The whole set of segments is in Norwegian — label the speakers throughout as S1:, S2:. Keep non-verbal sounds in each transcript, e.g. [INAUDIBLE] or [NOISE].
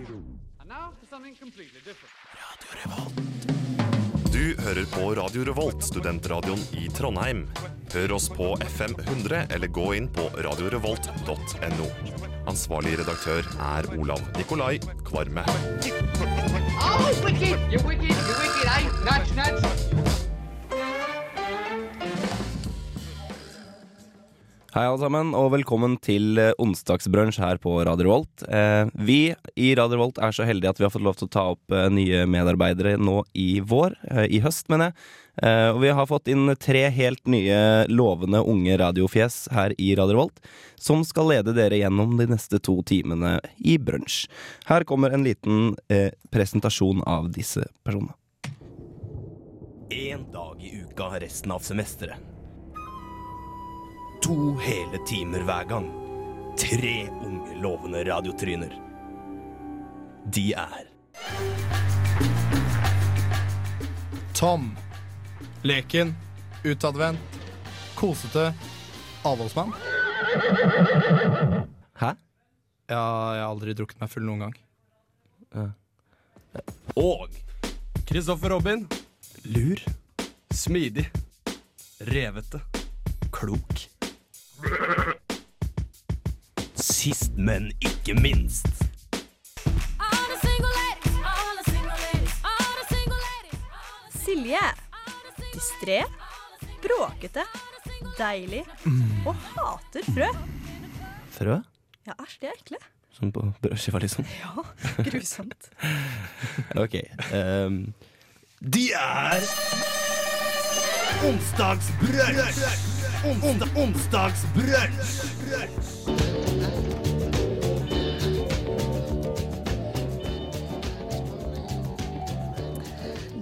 S1: And now for something completely different.
S2: Du hører på Radio Revolt, studentradioen i Trondheim. Hør oss på FM 100 eller gå inn på radiorevolt.no. Ansvarlig redaktør er Olav Nikolai Kvarme.
S1: Oh, wicked! You're wicked! You're wicked! Eh? Nuts, nuts!
S3: Hei alle sammen, og velkommen til eh, onsdagsbrunsj her på Radio Revolt. Eh, vi i Radio Revolt er så heldige at vi har fått lov til å ta opp eh, nye medarbeidere nå i vår. Eh, I høst, mener jeg. Eh, og vi har fått inn tre helt nye lovende unge radiofjes her i Radio Revolt, som skal lede dere gjennom de neste to timene i brunsj. Her kommer en liten eh, presentasjon av disse personene. Én dag i uka resten av semesteret. To hele timer hver gang. Tre unge, lovende radiotryner. De er
S4: Tom. Leken. Utadvendt. Kosete. Avholdsmann.
S3: Hæ?
S4: Ja, jeg har aldri drukket meg full noen gang.
S5: Og Kristoffer Robin Lur Smidig Revete Klok Sist, men ikke minst
S6: Silje. Distré, bråkete, deilig og hater frø.
S3: Frø?
S6: Ja, æsj, de er ekle.
S3: Sånn på brødskiva, liksom?
S6: Ja, grusomt.
S3: Ok. ehm,
S5: De er Onsdagsbrunch Ons- Onsdagsbrunch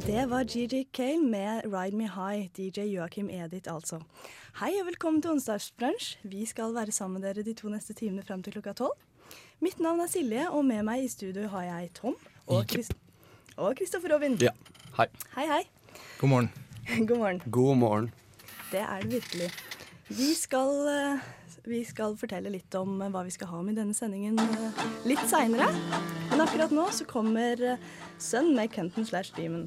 S6: Det var GG Kale med Ride Me High, DJ Joakim Edith altså. Hei og velkommen til onsdagsbrunsj. Vi skal være sammen med dere de to neste timene frem til klokka tolv. Mitt navn er Silje, og med meg i studio har jeg Tom og, Chris og Kristoffer Robin.
S5: Ja, hei.
S6: Hei, hei.
S4: God morgen.
S6: [LAUGHS] God morgen.
S5: God morgen
S6: Det er det virkelig. Vi skal, eh, vi skal fortelle litt om eh, hva vi skal ha med i denne sendingen eh, litt seinere. Men akkurat nå så kommer eh, Sun med Kenton slash Demon.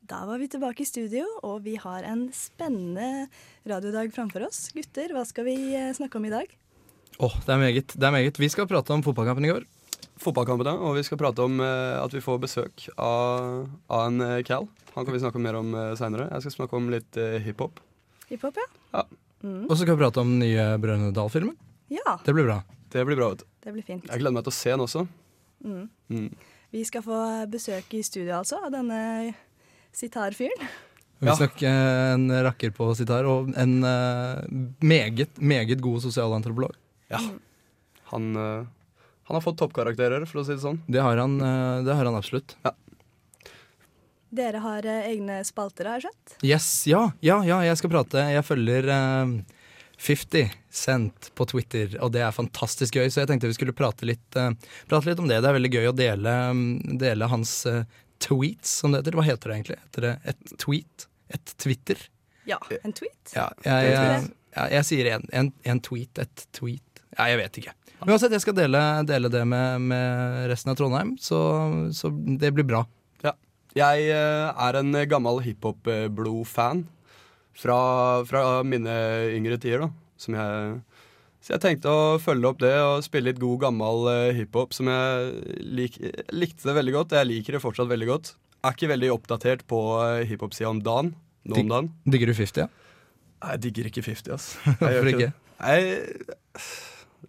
S6: Da var vi tilbake i studio, og vi har en spennende radiodag framfor oss. Gutter, hva skal vi eh, snakke om i dag?
S4: Åh, det er meget. Det er meget. Vi skal prate om fotballkampen i går.
S7: fotballkampen, da, og vi skal prate om eh, at vi får besøk av, av en eh, Cal. Han kan vi snakke mer om eh, seinere. Jeg skal snakke om litt eh, hiphop.
S6: Hiphop, ja?
S4: Og så skal vi prate om den nye Brønnøy Dal-filmen.
S6: Ja,
S4: Det blir bra.
S7: Det blir bra. vet du.
S6: det blir fint.
S7: Jeg gleder meg til å se den også.
S6: Vi skal få besøk i studio altså av denne sitarfyren.
S7: Ja.
S4: Visstnok eh, en rakker på sitt her, og en eh, meget, meget god sosialantropolog.
S7: Han, eh, han har fått toppkarakterer, for å si det sånn.
S4: Det har han, eh, det har han absolutt.
S6: Dere har eh, egne spalter, har jeg skjønt?
S4: Yes, ja, ja, ja, jeg skal prate. Jeg følger eh, 50 Cent på Twitter, og det er fantastisk gøy, så jeg tenkte vi skulle prate litt, eh, prate litt om det. Det er veldig gøy å dele, mm, dele hans eh, tweets, som det heter. Hva heter det egentlig? Heter det et tweet? Et Twitter?
S6: Ja, en tweet.
S4: Ja, jeg,
S6: Jeg
S4: jeg,
S6: tror
S4: jeg, sier en, en, en tweet, et tweet. Ja, jeg vet ikke. Uansett, jeg skal dele, dele det med, med resten av Trondheim, så, så det blir bra.
S7: Jeg eh, er en gammel hiphop-blod-fan fra, fra mine yngre tider, da. Som jeg, så jeg tenkte å følge opp det og spille litt god, gammel eh, hiphop som jeg lik, likte det veldig godt. Jeg liker det fortsatt veldig godt. Er ikke veldig oppdatert på eh, hiphop-sida om dagen. Nå
S4: Digg.
S7: om dagen.
S4: Digger du 50, ja?
S7: Nei, Jeg digger ikke 50, ass. Jeg
S4: [LAUGHS]
S7: gjør
S4: Hvorfor
S7: det. Jeg,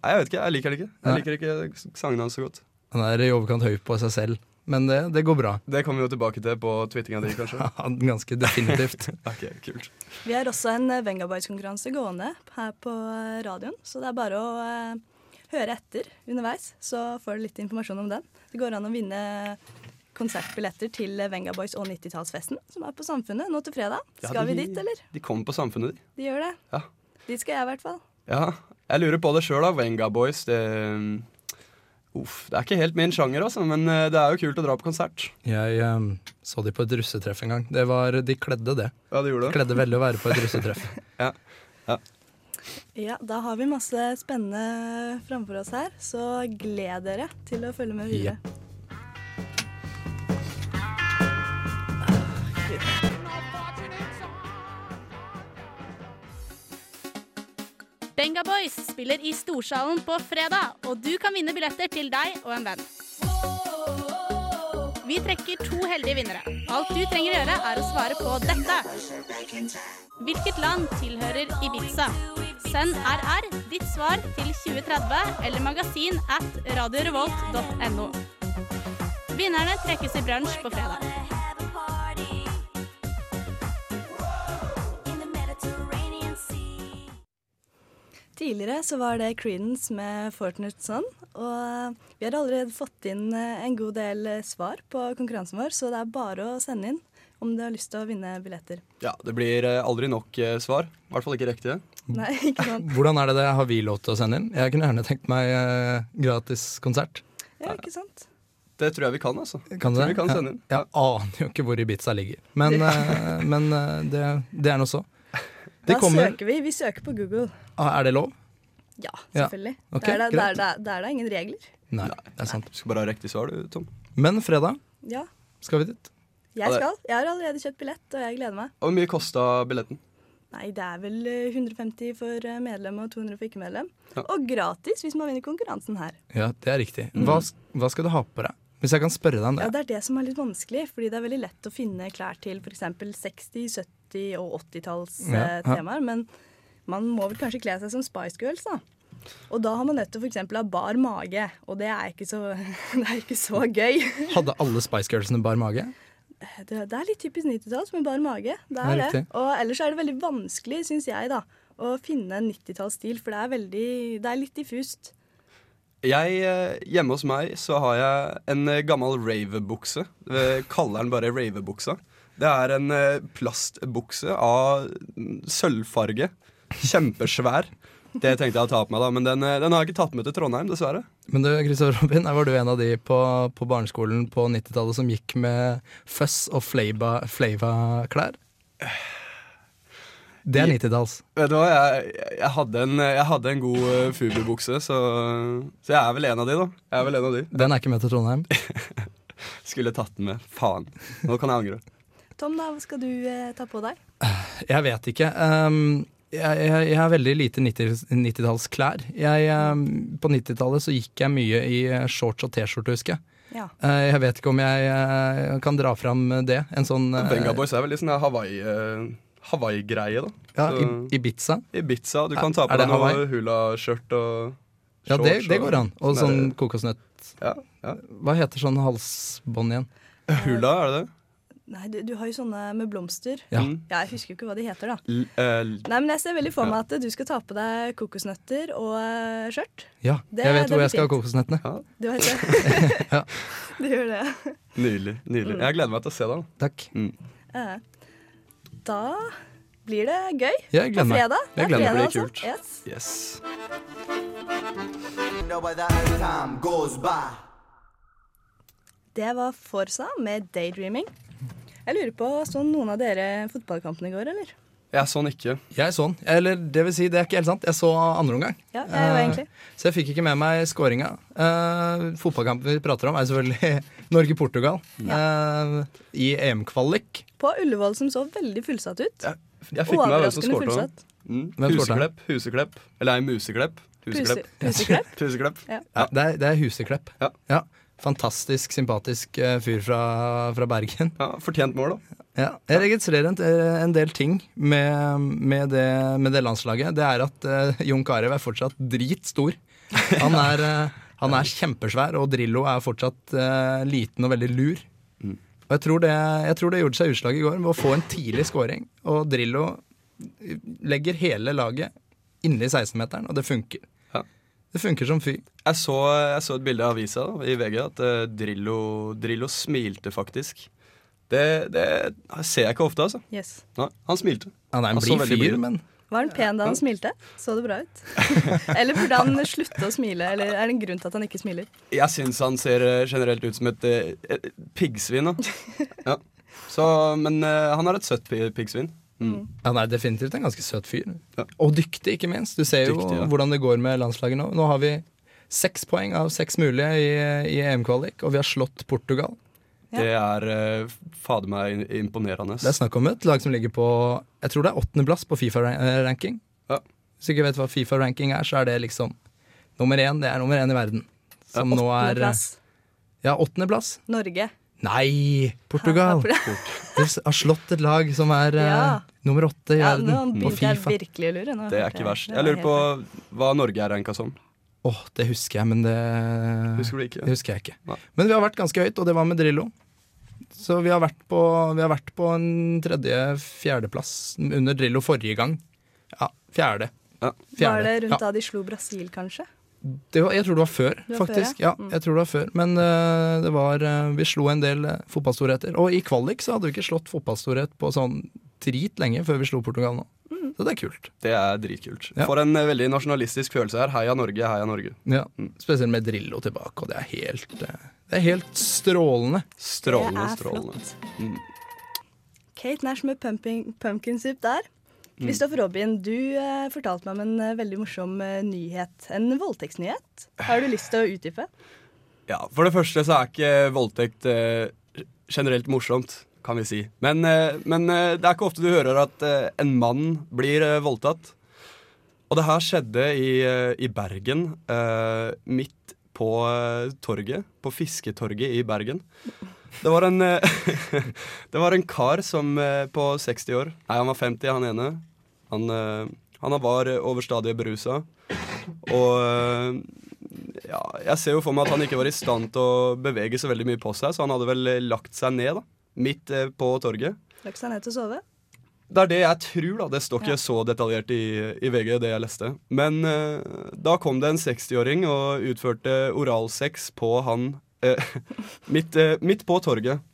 S7: nei, jeg vet ikke. Jeg liker det ikke. Jeg
S4: Nei.
S7: liker ikke sangene hans så godt.
S4: Han er i overkant høy på seg selv, men det, det går bra.
S7: Det kommer vi jo tilbake til på twittinga di, [LAUGHS] kanskje.
S4: Ja, ganske definitivt.
S7: Ok, kult.
S6: Vi har også en eh, Vengabytes-konkurranse gående her på eh, radioen, så det er bare å eh, høre etter underveis, så får du litt informasjon om den. Det går an å vinne konsertbilletter til eh, Vengaboys og 90-tallsfesten, som er på Samfunnet nå til fredag.
S7: Ja,
S6: Skal vi
S7: de-
S6: dit, eller?
S7: De kommer på Samfunnet, de.
S6: De gjør det.
S7: Ja.
S6: Dit skal jeg i hvert fall.
S7: Ja, jeg lurer på det sjøl, da. Venga Boys. Det, um, Uff, det er ikke helt min sjanger, altså, men eh, det er jo kult å dra på konsert.
S4: Jeg eh, så de på et russetreff en gang. Det var, de kledde det.
S7: Ja, det gjorde det.
S4: Kledde veldig å være på et russetreff.
S6: Ja, da har vi masse spennende framfor oss her, så gled dere til å følge med videre.
S8: Benga Boys spiller i Storsalen på fredag, og du kan vinne billetter til deg og en venn. Vi trekker to heldige vinnere. Alt du trenger å gjøre, er å svare på dette. Hvilket land tilhører Ibiza? Send RR ditt svar til 2030 eller magasin at radiorevolt.no. Vinnerne trekkes i brunsj på fredag.
S6: Tidligere så var det Creedence med Fortnite Son, og vi har allerede fått inn eh, en god del eh, svar på konkurransen vår, så det er bare å sende inn om du har lyst til å vinne billetter.
S7: Ja, det blir eh, aldri nok eh, svar. I hvert fall ikke riktige.
S4: Mm.
S6: Nei, ikke
S4: [LAUGHS]
S6: sant?
S4: Hvordan er det det? Har vi lov til å sende inn? Jeg kunne gjerne tenkt meg eh, gratis konsert.
S6: Ja, ikke sant?
S7: Det tror jeg vi kan, altså.
S4: Kan du
S7: Tror
S4: det?
S7: vi kan
S4: Ja.
S7: sende inn.
S4: Jeg aner jo ikke hvor Ibiza ligger. Men, eh, men eh, det, det er nå så. Det
S6: Hva
S4: kommer-
S6: søker vi? Vi søker på Google.
S4: Ah, Er det lov?
S6: Ja,
S4: Ja.
S6: selvfølgelig.
S4: Ok,
S6: der, er det-
S4: greit.
S6: der, er det- der er det ingen regler.
S4: Nei, det er sant.
S7: Du skal bare ha riktig svar, du, Tom.
S4: Men fredag
S6: Ja,
S4: skal vi dit.
S6: jeg
S7: Ja, det-
S6: skal. Jeg har allerede kjøpt billett, og jeg gleder meg.
S7: Og Hvor mye kosta billetten?
S6: Nei, det er vel eh, 150 for eh, medlem og 200 for ikke-medlem.
S7: Ja.
S6: Og gratis hvis man vinner konkurransen her.
S4: Ja, det er riktig.
S7: Mm.
S4: Hva, s- hva skal du ha på deg? Hvis jeg kan spørre deg om
S6: Ja,
S4: det.
S6: Det er det som er litt vanskelig, fordi det er veldig lett å finne klær til f.eks. 60-, 70- og 80-tallstemaer,
S4: Ja, ja.
S6: temaer men man må vel kanskje kle seg som Spice Girls, da. Og da har man nødt til f.eks. å ha bar mage, og det er ikke så, [LAUGHS] det er ikke så gøy.
S4: Hadde alle Spice Girlsene bar mage?
S6: Det, det er litt typisk 90-talls med bar mage. Det
S4: Det
S6: er
S4: er
S6: det.
S4: riktig.
S6: Og ellers er det veldig vanskelig, syns jeg, da, å finne en 90-tallsstil, for det er veldig Det er litt diffust.
S7: Jeg, eh, hjemme hos meg så har jeg en eh, gammel ravebukse. Eh, Kaller den bare ravebuksa. Det er en eh, plastbukse av mm, sølvfarge. Kjempesvær. Det tenkte jeg å ta på meg, da, men den, eh, den har jeg ikke tatt med til Trondheim, dessverre.
S4: Men du, Kristoffer Robin, her var du en av de på, på barneskolen på 90-tallet som gikk med fuzz og flava- flava-klær? Det er 90-talls.
S7: Vet du hva, jeg, jeg, hadde, en, jeg hadde en god eh, Fubu-bukse, så, så jeg er vel en av de, da. Jeg er vel en av de.
S4: Den er ikke med til Trondheim.
S7: Skulle tatt den med. Faen. Nå kan jeg angre.
S6: Tom, da, hva skal du eh, ta på deg?
S4: [LAUGHS] Jeg vet ikke. Ehm, jeg, jeg, jeg har veldig lite 90 90-tallsklær. Jeg, ehm, på 90-tallet så gikk jeg mye i eh, shorts og T-skjorte, husker jeg.
S6: Ja.
S4: Eh, jeg vet ikke om jeg eh, kan dra fram det. En sånn eh,
S7: Benga Boys er vel litt sånn der Hawaii, eh, Hawaii-greie, da.
S4: ja, i,
S7: Så-
S4: Ibiza.
S7: Ibiza. Du
S4: Er-
S7: kan ta
S4: er det
S7: på deg noe
S4: Hawaii?
S7: hula-skjørt og
S4: Ja, det,
S7: shorts
S4: det
S7: og-
S4: går an. Og sånn
S7: der-
S4: kokosnøtt.
S7: ja, ja.
S4: Hva heter sånn halsbånd igjen?
S7: Hula, er det det?
S6: Nei, du, du har jo sånne med blomster.
S4: Ja.
S7: Mm.
S6: Ja, jeg husker jo ikke hva de heter, da.
S7: L eh, l-
S6: Nei, men Jeg ser veldig for meg at du skal ta på deg kokosnøtter og eh, skjørt.
S4: Ja,
S6: Det-
S4: jeg vet
S6: det
S4: hvor
S6: blir
S4: jeg skal ha
S6: fint.
S4: kokosnøttene.
S6: Du vet det.
S4: [LAUGHS] Ja.
S6: [LAUGHS] Du gjør det.
S7: nydelig. nydelig. Jeg gleder meg til å se deg. da.
S4: Takk.
S7: Mm.
S6: Eh, Da blir det gøy.
S4: Ja, jeg
S6: På
S4: gleder meg.
S6: fredag. Det er
S4: gleder
S6: fredag,
S4: meg.
S6: altså.
S7: kult.
S6: Yes.
S7: Yes.
S6: Det var Forsa med 'Daydreaming'. Jeg lurer på, Så noen av dere fotballkampen i går, eller?
S7: Jeg er sånn ikke.
S4: Jeg så den. Eller det vil si, det er ikke helt sant. Jeg så andre omgang.
S6: Ja, jeg jo
S4: Eh,
S6: egentlig.
S4: Så jeg fikk ikke med meg skåringa. Eh, fotballkampen vi prater om, er selvfølgelig [LAUGHS] Norge-Portugal. Eh, I EM-kvalik.
S6: På Ullevål, som så veldig fullsatt ut.
S7: Jeg, jeg fikk med meg hvem som
S6: Overraskende
S7: skårte. da.
S6: fullsatt.
S7: Mm.
S4: Hvem skårte?
S7: Huseklepp, Huseklepp. Eller nei, Museklepp. Huseklepp.
S6: Puse- Puseklepp.
S7: Puseklepp.
S4: [LAUGHS] Ja. Det, er, det er Huseklepp.
S7: Ja.
S4: Fantastisk sympatisk eh, fyr fra, fra Bergen.
S7: Ja, fortjent mål, da.
S4: Ja. Jeg registrerer en, eh, en del ting med, med, det, med det landslaget. Det er at eh, Jon Carew er fortsatt dritstor. Han er, eh, han er kjempesvær, og Drillo er fortsatt eh, liten og veldig lur.
S7: Mm.
S4: Og jeg tror, det, jeg tror det gjorde seg utslag i går ved å få en tidlig scoring. Og Drillo legger hele laget inni 16-meteren, og det funker.
S7: Ja.
S4: Det funker som fy.
S7: Jeg så, jeg så et bilde av avisa da, i VG at eh, Drillo, Drillo smilte, faktisk. Det, det ser jeg ikke ofte, altså.
S6: Yes.
S7: Nei, han smilte.
S4: Han er en
S7: Han så
S4: blid
S7: veldig blid
S4: fyr,
S7: ut.
S4: men
S6: Var han pen da han smilte? Så det bra ut? [LAUGHS] Eller burde han slutte å smile? Eller er det en grunn til at han ikke smiler?
S7: Jeg syns han ser eh, generelt ut som et, eh, et
S6: [LAUGHS]
S7: piggsvin. Da. Ja. Så, men eh, han er et søtt pi- piggsvin.
S4: Han er definitivt en ganske søt fyr.
S7: Ja.
S4: Og dyktig, ikke minst. Du ser jo
S7: Dyktig, ja.
S4: hvordan det går med landslaget nå. Nå har vi seks poeng av seks mulige i, i EM-kvalik, og vi har slått Portugal.
S6: Ja.
S7: Det er eh, fader meg in- imponerende.
S4: Det er snakk om et lag som ligger på jeg tror det er åttendeplass på Fifa-ranking.
S7: Ja.
S4: Hvis du ikke vet hva Fifa-ranking er, så er det liksom nummer én. Det er nummer én i verden. Som nå er
S6: Plass.
S4: Ja, åttendeplass.
S6: Norge.
S4: Nei! Portugal!
S6: Ja,
S4: Vi har slått et lag som er eh,
S6: Ja.
S4: nummer åtte i
S6: Ja, nå
S4: verden på
S6: begynte jeg
S4: Fifa. Åh,
S6: virkelig å lure. Nå
S7: Det er
S6: hørte
S7: ikke verst.
S6: det
S7: Jeg
S6: var
S7: lurer på
S6: helt
S7: hva Norge er ranka som.
S4: det husker jeg, men det
S7: Husker du ikke?
S4: Det husker jeg ikke.
S7: Nei.
S4: Men vi har vært ganske høyt, og det var med Drillo. Så vi har vært på, vi har vært på en tredje-fjerdeplass under Drillo forrige gang. Ja, fjerde.
S7: Ja.
S6: feil. Var det rundt
S4: ja.
S6: da de slo Brasil, kanskje?
S4: det var, Jeg tror det var før,
S6: Det var før,
S4: faktisk.
S6: ja. Mm.
S4: ja. jeg tror det var før. Men eh, det var, eh, vi slo en del eh, fotballstorheter. Og i kvalik så hadde vi ikke slått fotballstorhet på sånn drit lenge før vi slo Portugal nå.
S6: Mm.
S4: Så det er kult.
S7: Det er dritkult.
S4: Ja.
S7: For en eh, veldig nasjonalistisk følelse her. Heia Norge, heia Norge.
S4: Ja. Spesielt med Drillo tilbake, og det er helt, eh, det er helt strålende.
S6: det
S7: Strålende,
S6: er
S7: strålende.
S6: flott. Kate Nash med pumping, pumpkin soup der.
S7: Mm.
S6: Kristoffer Robin, du eh, fortalte meg om en eh, veldig morsom eh, nyhet. En voldtektsnyhet. Har du lyst til å utdype?
S7: Ja, For det første så er ikke voldtekt eh, generelt morsomt, kan vi si. Men, eh, men eh, det er ikke ofte du hører at eh, en mann blir eh, voldtatt. Og det her skjedde i, eh, i Bergen, eh, midt på eh, torget. På Fisketorget i Bergen. Det var en, eh, [LAUGHS] det var en kar som eh, på 60 år Nei, han var 50, han ene. Han, eh, han var overstadig berusa. Og eh, ja, jeg ser jo for meg at han ikke var i stand til å bevege så veldig mye på seg, så han hadde vel eh, lagt seg ned da, midt eh, på torget.
S6: Lagt seg ned til å sove?
S7: Det er det jeg tror, da. Det står ikke så detaljert i, i VG, det jeg leste. Men eh, da kom det en 60-åring og utførte oralsex på han eh, [LAUGHS] midt, eh, midt på torget.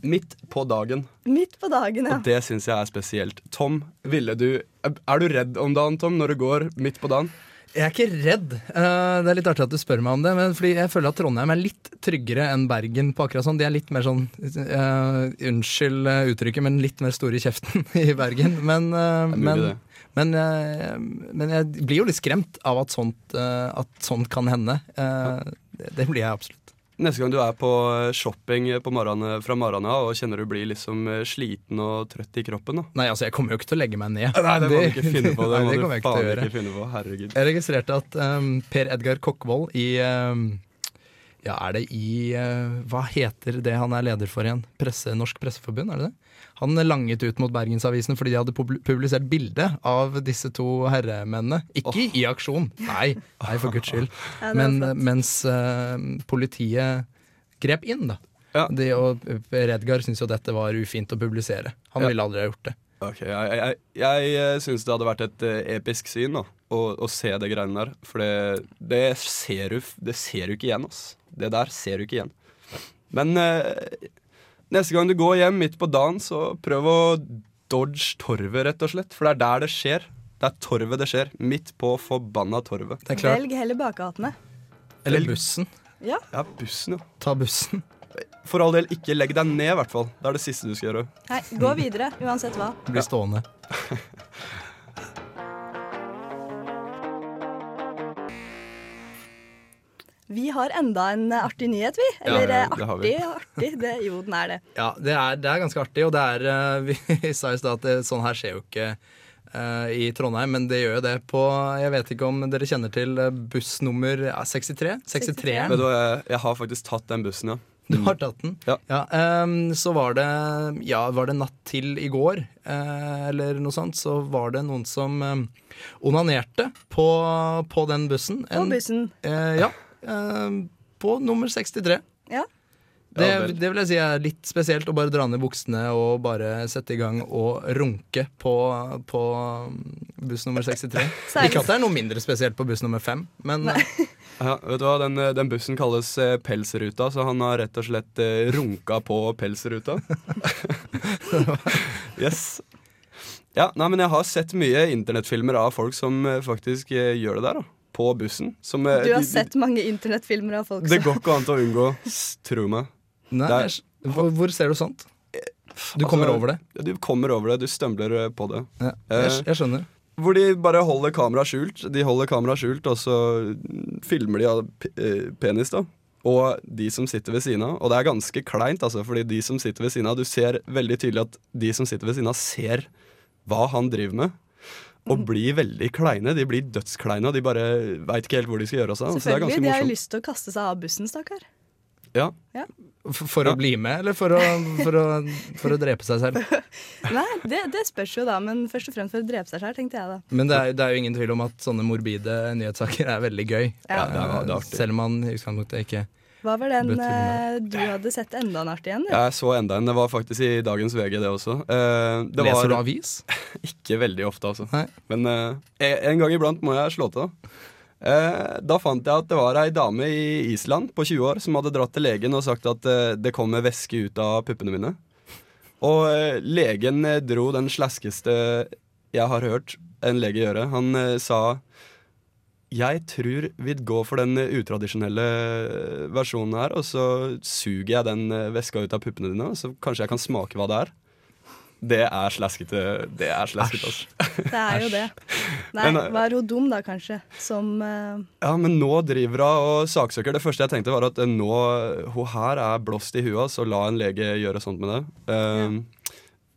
S7: Midt på dagen.
S6: Midt på dagen, ja.
S7: Og det syns jeg er spesielt. Tom, ville du Er du redd om dagen, Tom, når du går midt på dagen?
S4: Jeg er ikke redd. Eh, det er litt artig at du spør meg om det. Men fordi jeg føler at Trondheim er litt tryggere enn Bergen på akkurat sånn. De er litt mer sånn eh, Unnskyld eh, uttrykket, men litt mer store i kjeften [LAUGHS] i Bergen. Men, eh,
S7: mulig
S4: men,
S7: det.
S4: men, eh, men jeg blir jo litt skremt av at sånt, eh, at sånt kan hende. Eh, det, det blir jeg absolutt.
S7: Neste gang du er på eh, shopping på morgenen, fra morgenen av og kjenner du blir liksom sliten og trøtt i kroppen da.
S4: Nei, altså, jeg kommer jo ikke til å legge meg ned.
S7: Nei, det må du ikke finne på.
S4: Nei,
S7: Det
S4: [LAUGHS]
S7: må
S4: det
S7: du
S4: kommer jeg ikke til
S7: faen
S4: å gjøre.
S7: ikke finne på. Herregud.
S4: Jeg registrerte at ehm, Per Edgar Kokkvold i ehm, Ja, er det i eh, Hva heter det han er leder for igjen? Presse, Norsk Presseforbund, er det det? Han langet ut mot Bergensavisen fordi de hadde publ- publisert bilde av disse to herremennene. Ikke i aksjon, nei, nei for guds skyld.
S6: Ja, det var
S4: Men
S6: flott.
S4: eh, mens eh, politiet grep inn, da.
S7: Ja.
S4: De, og Per Edgar syntes jo dette var ufint å publisere. Han
S7: Ja.
S4: ville aldri ha gjort det.
S7: Ok, jeg, jeg, jeg, jeg syns det hadde vært et eh, episk syn da, å, å se det greiene der. For det, det, ser du, f- det ser du ikke igjen, ass. Det der ser du ikke igjen. Men eh, neste gang du går hjem midt på dagen, så prøv å dodge torvet, rett og slett. For det er der det skjer. Det er torvet det skjer. Midt på forbanna torvet.
S4: det er klart.
S6: Velg heller bakgatene.
S4: Eller bussen.
S6: Ja.
S7: Ja, bussen, ja.
S4: Ta bussen.
S7: For all del, ikke legg deg ned, i hvert fall. Det er det siste du skal gjøre.
S6: Nei, gå videre, uansett hva.
S4: Bli stående.
S6: Vi har enda en eh, artig nyhet, vi. Eller
S7: ja,
S6: eh,
S7: det har
S6: artig
S7: vi.
S6: og artig. Det, jo, den er det.
S4: Ja, det er, det er ganske artig, og det er eh, [LAUGHS] Vi sa i stad at det, sånn her skjer jo ikke eh, i Trondheim, men det gjør jo det på Jeg vet ikke om dere kjenner til eh, buss nummer ja, 63? 63-eren?
S7: Vet du hva, jeg, jeg har faktisk tatt den bussen, ja.
S4: Du har tatt den?
S7: Ja.
S4: ehm, så var det, ja, var det natt til i går, eh, eller noe sånt, så var det noen som eh, onanerte på, på den bussen.
S6: På
S4: En-
S6: bussen.
S4: eh, ja. eh, på nummer 63.
S6: Ja.
S4: Det,
S7: Ja vel.
S4: det vil jeg si er litt spesielt å bare dra ned buksene og bare sette i gang og runke på, på um, buss nummer 63.
S6: Særlig-
S4: Ikke at det er noe mindre spesielt på buss nummer 5, men
S7: ja vet du hva, den, eh, den bussen kalles eh, Pelsruta, så han har rett og slett eh, runka på Pelsruta. [LAUGHS] yes. Ja, nei, men jeg har sett mye internettfilmer av folk som eh, faktisk eh, gjør det der, da. På bussen. Som, eh,
S6: Du har
S7: de-
S6: sett mange internettfilmer av folk
S7: Det
S6: som
S7: går ikke an til å unngå. s- Tro meg.
S4: uh, Nei,
S7: Det er-
S4: æsj. hvor, hvor ser du sånt? Du kommer
S7: Altså,
S4: over det?
S7: Ja, Du kommer over det. Du stømler eh, på det.
S4: Ja. Jeg, skj- jeg skjønner.
S7: Hvor de bare holder kameraet skjult. De holder kameraet skjult, og så filmer de av p- eh, penis, da. Og de som sitter ved siden av. Og det er ganske kleint, altså, fordi de som sitter ved siden av, du ser veldig tydelig at de som sitter ved siden av, ser hva han driver med.
S6: Mhm.
S7: Og blir veldig kleine. De blir dødskleine, og de bare veit ikke helt hvor de skal gjøre av seg. Så det er
S6: Selvfølgelig,
S7: ganske
S6: de har jo
S7: morsomt.
S6: lyst til å kaste seg av bussen, stakkar.
S7: Ja.
S4: For, for å bli med, eller for å, for å, for å drepe seg selv?
S6: Nei, det, det spørs jo da, men først og fremst for å drepe seg sjøl, tenkte jeg da.
S4: Men det er, det er jo ingen tvil om at sånne morbide nyhetssaker er veldig gøy.
S6: Ja.
S7: det er- det er artig.
S4: Selv om man i utgangspunktet ikke
S6: Hva var den
S4: Bøtter med.
S6: eh, du hadde sett enda en artig en? du?
S7: Jeg så enda en. Det var faktisk i dagens VG, det også. Eh, det
S4: Leser du
S7: var
S4: avis?
S7: ikke veldig ofte, altså.
S4: Nei.
S7: Men eh, en gang iblant må jeg slå til. Eh, da fant jeg at det var ei dame i Island på 20 år som hadde dratt til legen og sagt at eh, det kommer væske ut av puppene mine. Og eh, legen eh, dro den slaskeste jeg har hørt en lege gjøre. Han eh, sa jeg tror vi går for den eh, utradisjonelle eh, versjonen her, og så suger jeg den eh, væska ut av puppene dine, så kanskje jeg kan smake hva det er. Det er slaskete. Det er slaskete, altså.
S6: Det er jo det. Nei,
S7: Men, eh, Mm.
S6: var hun dum da, kanskje? Som eh,
S7: Ja, men nå driver hun og saksøker. Det første jeg tenkte, var at eh, nå Hun her er blåst i huet, så la en lege gjøre sånt med det. Ehm,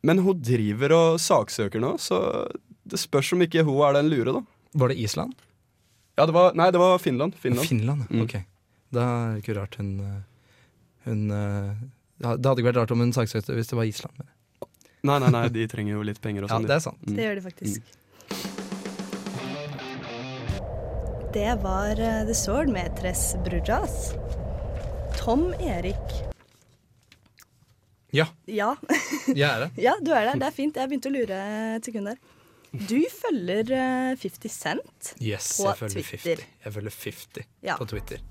S7: Men hun driver og saksøker nå, så det spørs om ikke hun er den lure, da.
S4: Var det Island?
S7: Ja, det var, nei, det var Finland. Finland.
S4: Finland, ja.
S7: Mm.
S4: ok. Da er det ikke rart hun eh, Hun eh, ja, Det hadde ikke vært rart om hun saksøkte hvis det var Island. men-
S7: Nei, nei, nei, de trenger jo litt penger og
S4: Ja,
S7: sånn.
S4: det er sant.
S6: Det gjør de faktisk.
S7: Mm.
S6: Det var eh, The Sword med Tres Brujas. Tom Erik.
S4: Ja,
S6: Ja, [LAUGHS]
S4: jeg er det.
S6: ja, du er der. Det er fint. Jeg begynte å lure et sekund der. Du følger eh, 50 Cent.
S4: Yes,
S6: På
S4: jeg følger
S6: Twitter.
S4: 50. Jeg følger 50
S6: Ja.
S4: på Twitter.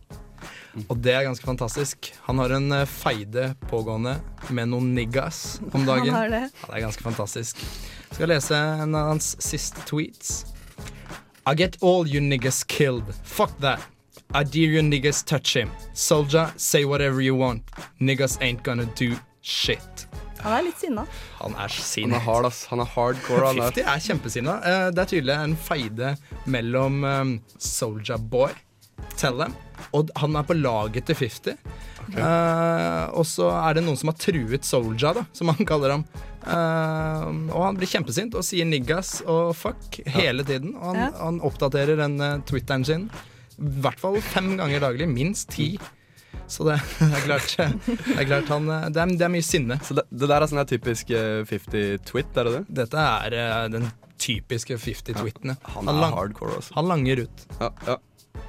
S4: Og det er ganske fantastisk. Han har en eh, feide pågående med noen niggas om dagen.
S6: [LAUGHS] Han har det.
S4: Ja, det er ganske fantastisk. Skal lese en av hans siste tweets. I get all you niggas killed. Fuck that. I dare you niggas touch him. Soldier, say whatever you want. Niggas ain't gonna do shit.
S6: Han er litt sinna.
S4: Han er
S7: Han er
S4: sint.
S7: hard, ass. Han er hardcore. Han er.
S4: 50 er kjempesinna. Eh, Det er tydelig en feide mellom um, Soldier Boy, Tell Them, og d- han er på laget til 50. Eh, og så er det noen som har truet Soldier, da, som han kaller ham. Eh, og han blir kjempesint og sier niggas og fuck hele tiden. Og han,
S6: Ja.
S4: han oppdaterer den eh, Twitteren sin i hvert fall fem ganger daglig. Minst ti. Så det, [LAUGHS] det er klart, det er, klart han, eh, det er, det er mye sinne.
S7: Så det, det der er sånn her typisk 50-twit, er det det?
S4: Dette er eh, den typiske 50-tweetene.
S7: Han er
S4: lang-
S7: hardcore, altså.
S4: han langer ut.
S7: Ja, ja.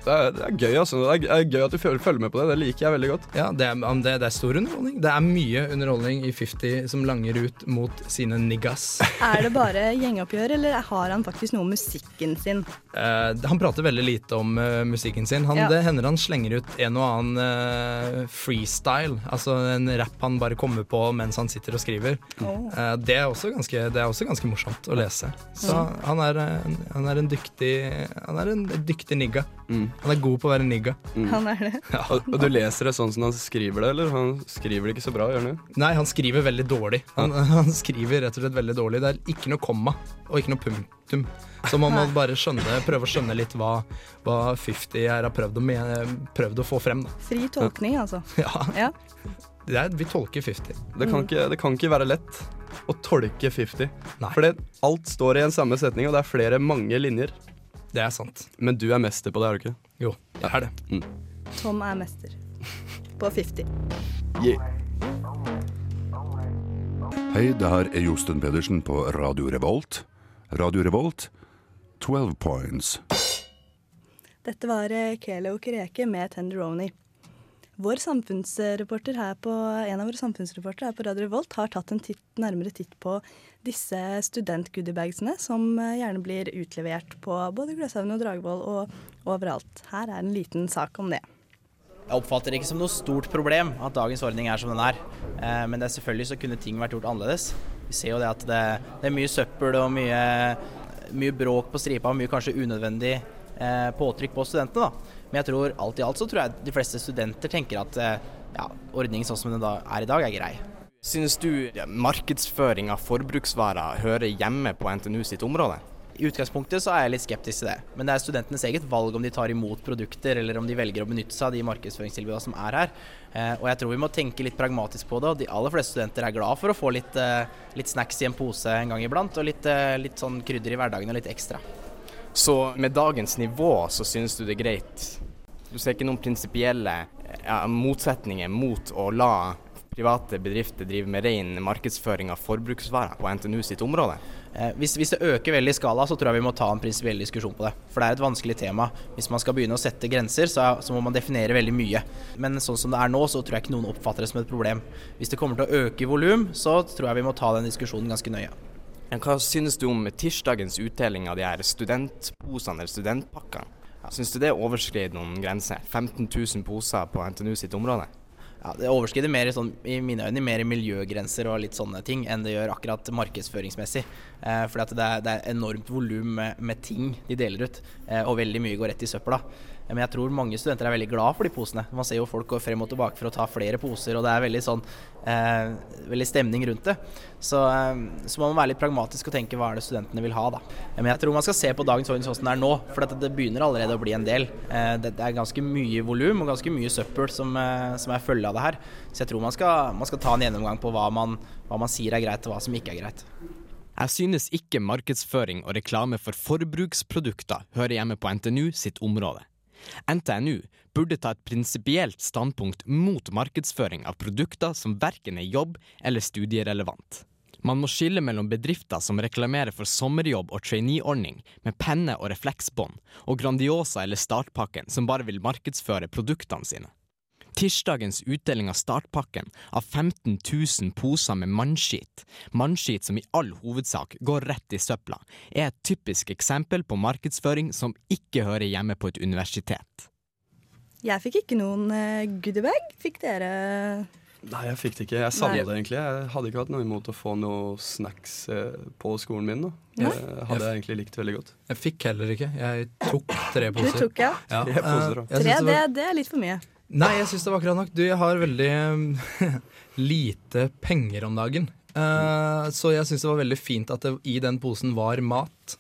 S7: Det, er, det er gøy, altså. Det er, det er gøy at du føl- følger med på det. Det liker jeg veldig godt.
S4: Ja, det er, men det, det er stor underholdning. Det er mye underholdning i 50 som langer ut mot sine niggas. [LAUGHS]
S6: Er det bare gjengoppgjør, eller har han faktisk noe om musikken sin?
S4: Eh, han prater veldig lite om eh, musikken sin. Han,
S6: Ja.
S4: Det hender han slenger ut en og annen eh, freestyle, altså en rapp han bare kommer på mens han sitter og skriver.
S6: Åh.
S4: Eh, det, er også ganske, det er også ganske morsomt å lese. Så
S6: Mm.
S4: han er, eh, en- han er en dyktig Han er en dyktig nigga.
S7: Mm.
S4: Han er god på å være nigga.
S6: Han er det.
S7: Og, og du leser det sånn som han skriver det, eller? Han skriver det ikke så bra, gjør han det?
S4: Nei, han skriver veldig dårlig. Han, [LAUGHS] han skriver rett og slett veldig dårlig. Det er ikke noe komma og ikke noe punktum. Så man må bare skjønne, prøve å skjønne litt hva, hva 50 her har prøvd å, mene- prøvd å få frem. Da. [LAUGHS]
S6: Fri tolkning, altså.
S4: Ja,
S6: Ja.
S4: det er, vi tolker 50.
S7: Det kan, ikke, det kan ikke være lett å tolke 50.
S4: Nei.
S7: For det- alt står i en samme setning, og det er flere mange linjer.
S4: Det er sant.
S7: Men du er mester på det, er du ikke?
S4: Jo, det er det.
S6: Tom er mester. På 50.
S9: Hei, det her er Josten Pedersen på Radio Revolt. Radio Revolt, 12 points.
S6: Dette var eh, Kelo Kereke med Tenderoni. Vår samfunnsreporter her på, en av våre samfunnsreportere her på Radio Revolt har tatt en titt, nærmere titt på disse studentgoodiebagsene som eh, gjerne blir utlevert på både Gløshaugen og Dragvoll og overalt. Her er en liten sak om det.
S10: Jeg oppfatter det ikke som noe stort problem at dagens ordning er som den er. Eh, Men det er selvfølgelig så kunne ting vært gjort annerledes. Vi ser jo det at det, det er mye søppel og mye, mye bråk på stripa og mye kanskje unødvendig eh, påtrykk på studentene. da. Men jeg tror alt i alt så tror jeg de fleste studenter tenker at eh, ja, ordningen sånn som den da er i dag, er grei.
S11: Synes du markedsføring av forbruksvarer hører hjemme på NTNU sitt område?
S10: I utgangspunktet så er jeg litt skeptisk til det, men det er studentenes eget valg om de tar imot produkter, eller om de velger å benytte seg av de markedsføringstilbudene som er her. Eh, og jeg tror vi må tenke litt pragmatisk på det, og de aller fleste studenter er glad for å få litt, eh, litt snacks i en pose en gang iblant, og litt, eh, litt sånn krydder i hverdagen og litt ekstra.
S11: Så med dagens nivå så synes du det er greit? Du ser ikke noen prinsipielle ja, motsetninger mot å la private bedrifter drive med ren markedsføring av forbruksvarer på NTNU sitt område?
S10: Eh, hvis, hvis det øker veldig i skala, så tror jeg vi må ta en prinsipiell diskusjon på det. For det er et vanskelig tema. Hvis man skal begynne å sette grenser, så, så må man definere veldig mye. Men sånn som det er nå, så tror jeg ikke noen oppfatter det som et problem. Hvis det kommer til å øke i volum, så tror jeg vi må ta den diskusjonen ganske nøye.
S11: Men hva synes du om tirsdagens utdeling av de her studentposene eller studentpakkene? Synes du det overskred noen grenser? 15 000 poser på NTNU sitt område?
S10: Ja, det overskrider mer i sånn, i mine øyne mer miljøgrenser og litt sånne ting enn det gjør akkurat markedsføringsmessig. Eh, fordi at det er, det er enormt volum med, med ting de deler ut, eh, og veldig mye går rett i søpla. Eh, Men jeg tror mange studenter er veldig glad for de posene. Man ser jo folk går frem og tilbake for å ta flere poser, og det er veldig sånn eh, veldig stemning rundt det. Så, eh, så man må være litt pragmatisk og tenke hva er det studentene vil ha, da. Eh, Men jeg tror man skal se på dagens ordning sånn som den er nå, for at det begynner allerede å bli en del. Eh, Det det er ganske mye volum og ganske mye søppel som, eh, som er følge av det her. Så jeg tror man skal, man skal ta en gjennomgang på hva man, hva man sier er greit og hva som ikke er greit.
S11: Jeg synes ikke markedsføring og reklame for forbruksprodukter hører hjemme på NTNU sitt område. NTNU burde ta et prinsipielt standpunkt mot markedsføring av produkter som verken er jobb- eller studierelevant. Man må skille mellom bedrifter som reklamerer for sommerjobb og traineeordning med penne og refleksbånd, og Grandiosa eller Startpakken som bare vil markedsføre produktene sine. Tirsdagens utdeling av startpakken av 15 000 poser med mannskit, mannskit som i all hovedsak går rett i søpla, er et typisk eksempel på markedsføring som ikke hører hjemme på et universitet.
S6: Jeg fikk ikke noen eh, goodiebag. Fikk dere
S7: Nei, jeg fikk det ikke. Jeg savna
S6: Nei.
S7: det egentlig. Jeg hadde ikke hatt noe imot å få noe snacks eh, på skolen min. Da.
S6: Nei.
S7: Det hadde jeg egentlig likt veldig godt.
S4: Jeg fikk heller ikke. Jeg tok tre
S6: Du
S4: poser.
S6: tok, ja.
S7: Tre poser, da.
S4: eh, jeg
S6: Tre,
S4: synes det
S6: det,
S4: var-
S6: det er litt for mye.
S4: Nei, jeg syns det var akkurat nok. Du, jeg har veldig [LAUGHS] eh, lite penger om dagen. Eh, så jeg syns det var veldig fint at det i den posen var mat.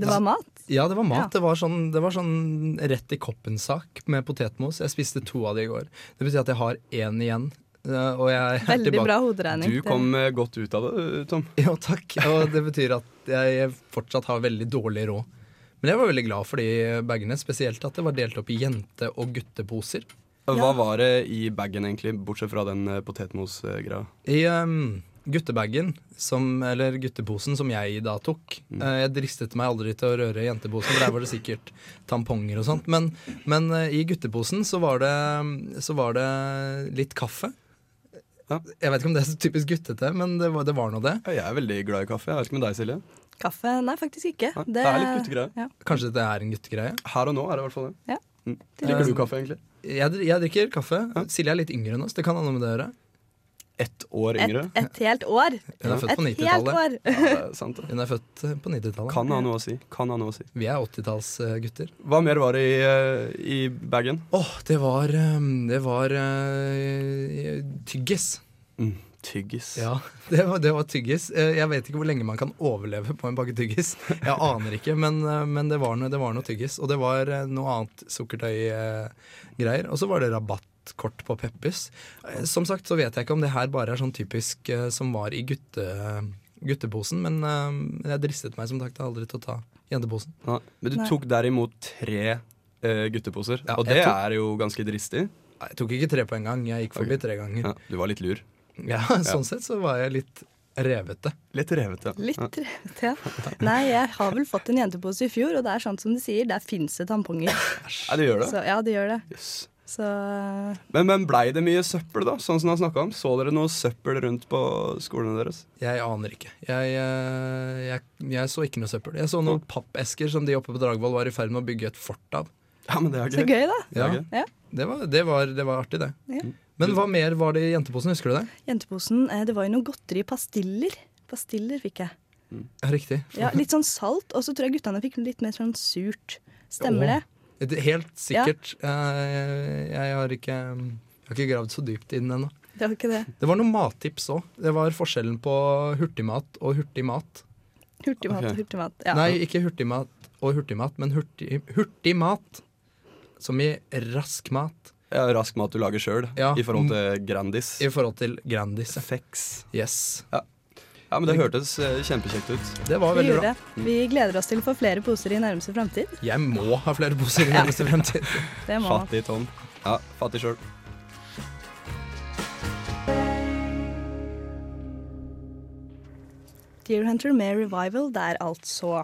S6: Det var mat.
S4: [LAUGHS] Ja, det var mat.
S6: Ja.
S4: Det, var sånn, det var sånn rett i koppen-sak med potetmos. Jeg spiste to av de i går. Det betyr at jeg har én igjen. eh, og jeg er
S6: Veldig
S4: tilbake.
S6: bra hoderegning.
S4: Du kom,
S7: eh, godt ut av det, Tom.
S4: [LAUGHS] Ja, takk. Og det betyr at jeg fortsatt har veldig dårlig råd. Men jeg var veldig glad for de bagene, spesielt at det var delt opp i jente- og gutteposer.
S7: Hva var det i bagen, egentlig, bortsett fra den eh, potetmos-greia?
S4: I ehm, guttebagen, som, eller gutteposen, som jeg da tok eh, Jeg dristet meg aldri til å røre jenteposen, for der var det sikkert tamponger og sånt. Men, men eh, i gutteposen så var, det, så var det litt kaffe. Jeg vet ikke om det er så typisk guttete, men det var, det var nå det.
S7: Jeg er veldig glad i kaffe. Jeg vet ikke med deg, Silje.
S6: Kaffe? Nei, faktisk ikke.
S7: Nei, det er litt guttegreie.
S6: Ja.
S4: Kanskje dette er en guttegreie?
S7: Her og nå er det i hvert fall det.
S6: Ja.
S7: Mm. Drikker du kaffe, egentlig?
S4: Jeg, dri- jeg drikker kaffe. Silje er litt yngre enn oss. Det kan ha noe med det å gjøre.
S7: Ett år
S6: Et, et helt år.
S4: Hun er født på
S6: Et helt
S4: 90-tallet.
S6: år. [LAUGHS]
S4: Hun er født eh, på 90-tallet.
S7: Kan ha noe å si. Kan ha noe å si.
S4: Vi er eh, 80-tallsgutter.
S7: Hva mer var det i, eh, i bagen?
S4: Åh, det var eh, Det var eh, tyggis.
S7: Tyggis.
S4: Ja, [LAUGHS] det var, det var tyggis. Eh, Jeg vet ikke hvor lenge man kan overleve på en pakke tyggis. Jeg aner ikke, men, eh, men det, var noe, det var noe tyggis. Og det var eh, noe annet sukkertøygreier. Og så var det rabattkort på Peppes. Eh, Som sagt så vet jeg ikke om det her bare er sånn typisk eh, som var i gutte, gutteposen, men eh, jeg dristet meg som sagt aldri til å ta jenteposen.
S7: Nei, men du
S4: Nei.
S7: tok derimot tre eh, gutteposer, og
S4: jeg
S7: det
S4: tok-
S7: er jo ganske dristig.
S4: Jeg tok ikke tre på en gang, jeg gikk forbi tre ganger.
S7: Ja, du var litt lur.
S4: Ja, [LAUGHS] sånn sett så var jeg litt revete.
S7: Litt revete.
S6: Litt trevete, [LAUGHS] ja. Nei, jeg har vel fått en jentepose i fjor, og det er sant som du sier, der fins det tamponger.
S7: Ja, det gjør det.
S6: Så, ja, det gjør det.
S7: Yes.
S6: Så
S7: Men, men blei det mye søppel, da? Sånn som han snakka om. Så dere noe søppel rundt på skolene deres?
S4: Jeg aner ikke. Jeg, eh, jeg, jeg så ikke noe søppel. Jeg så noen pappesker som de oppe på Dragvoll var i ferd med å bygge et fort av.
S7: Ja, men det er gøy.
S6: Så gøy, da.
S7: Det er gøy.
S6: Ja.
S4: Det var, det, var, det var artig, det.
S6: Ja.
S4: Men hva mer var det i jenteposen? Husker du det?
S6: Jenteposen, eh, det var jo noe godteri. Pastiller. Pastiller fikk jeg.
S4: Ja, Riktig.
S6: Ja, litt sånn salt, og så tror jeg guttene fikk litt mer sånn surt. Stemmer det?
S4: Åh, det? Helt sikkert. Eh, Jeg har ikke, jeg har ikke gravd så dypt i den ennå.
S6: Det var ikke det.
S4: Det var noen mattips òg. Det var forskjellen på hurtigmat og hurtigmat.
S6: Hurtigmat og
S4: Ok.
S6: hurtigmat. Ja.
S4: Nei, ikke hurtigmat og hurtigmat, men hurtig, hurtigmat. Som i rask mat.
S7: Ja, rask mat du lager sjøl,
S4: Ja. Mm.
S7: i forhold til Grandis.
S4: I forhold til Grandis.
S7: Fex.
S4: Yes.
S7: Ja. ja, men det hørtes eh, kjempekjekt ut.
S4: Det var
S6: Vi
S4: veldig
S6: gjorde
S4: bra.
S6: det. Vi gleder oss til å få flere poser i nærmeste framtid.
S4: Jeg må ha flere poser i nærmeste fremtid. [LAUGHS]
S6: Det må man.
S7: Fattig Tom. Ja, fattig sjøl.
S6: Deer Hunter med Revival der, altså.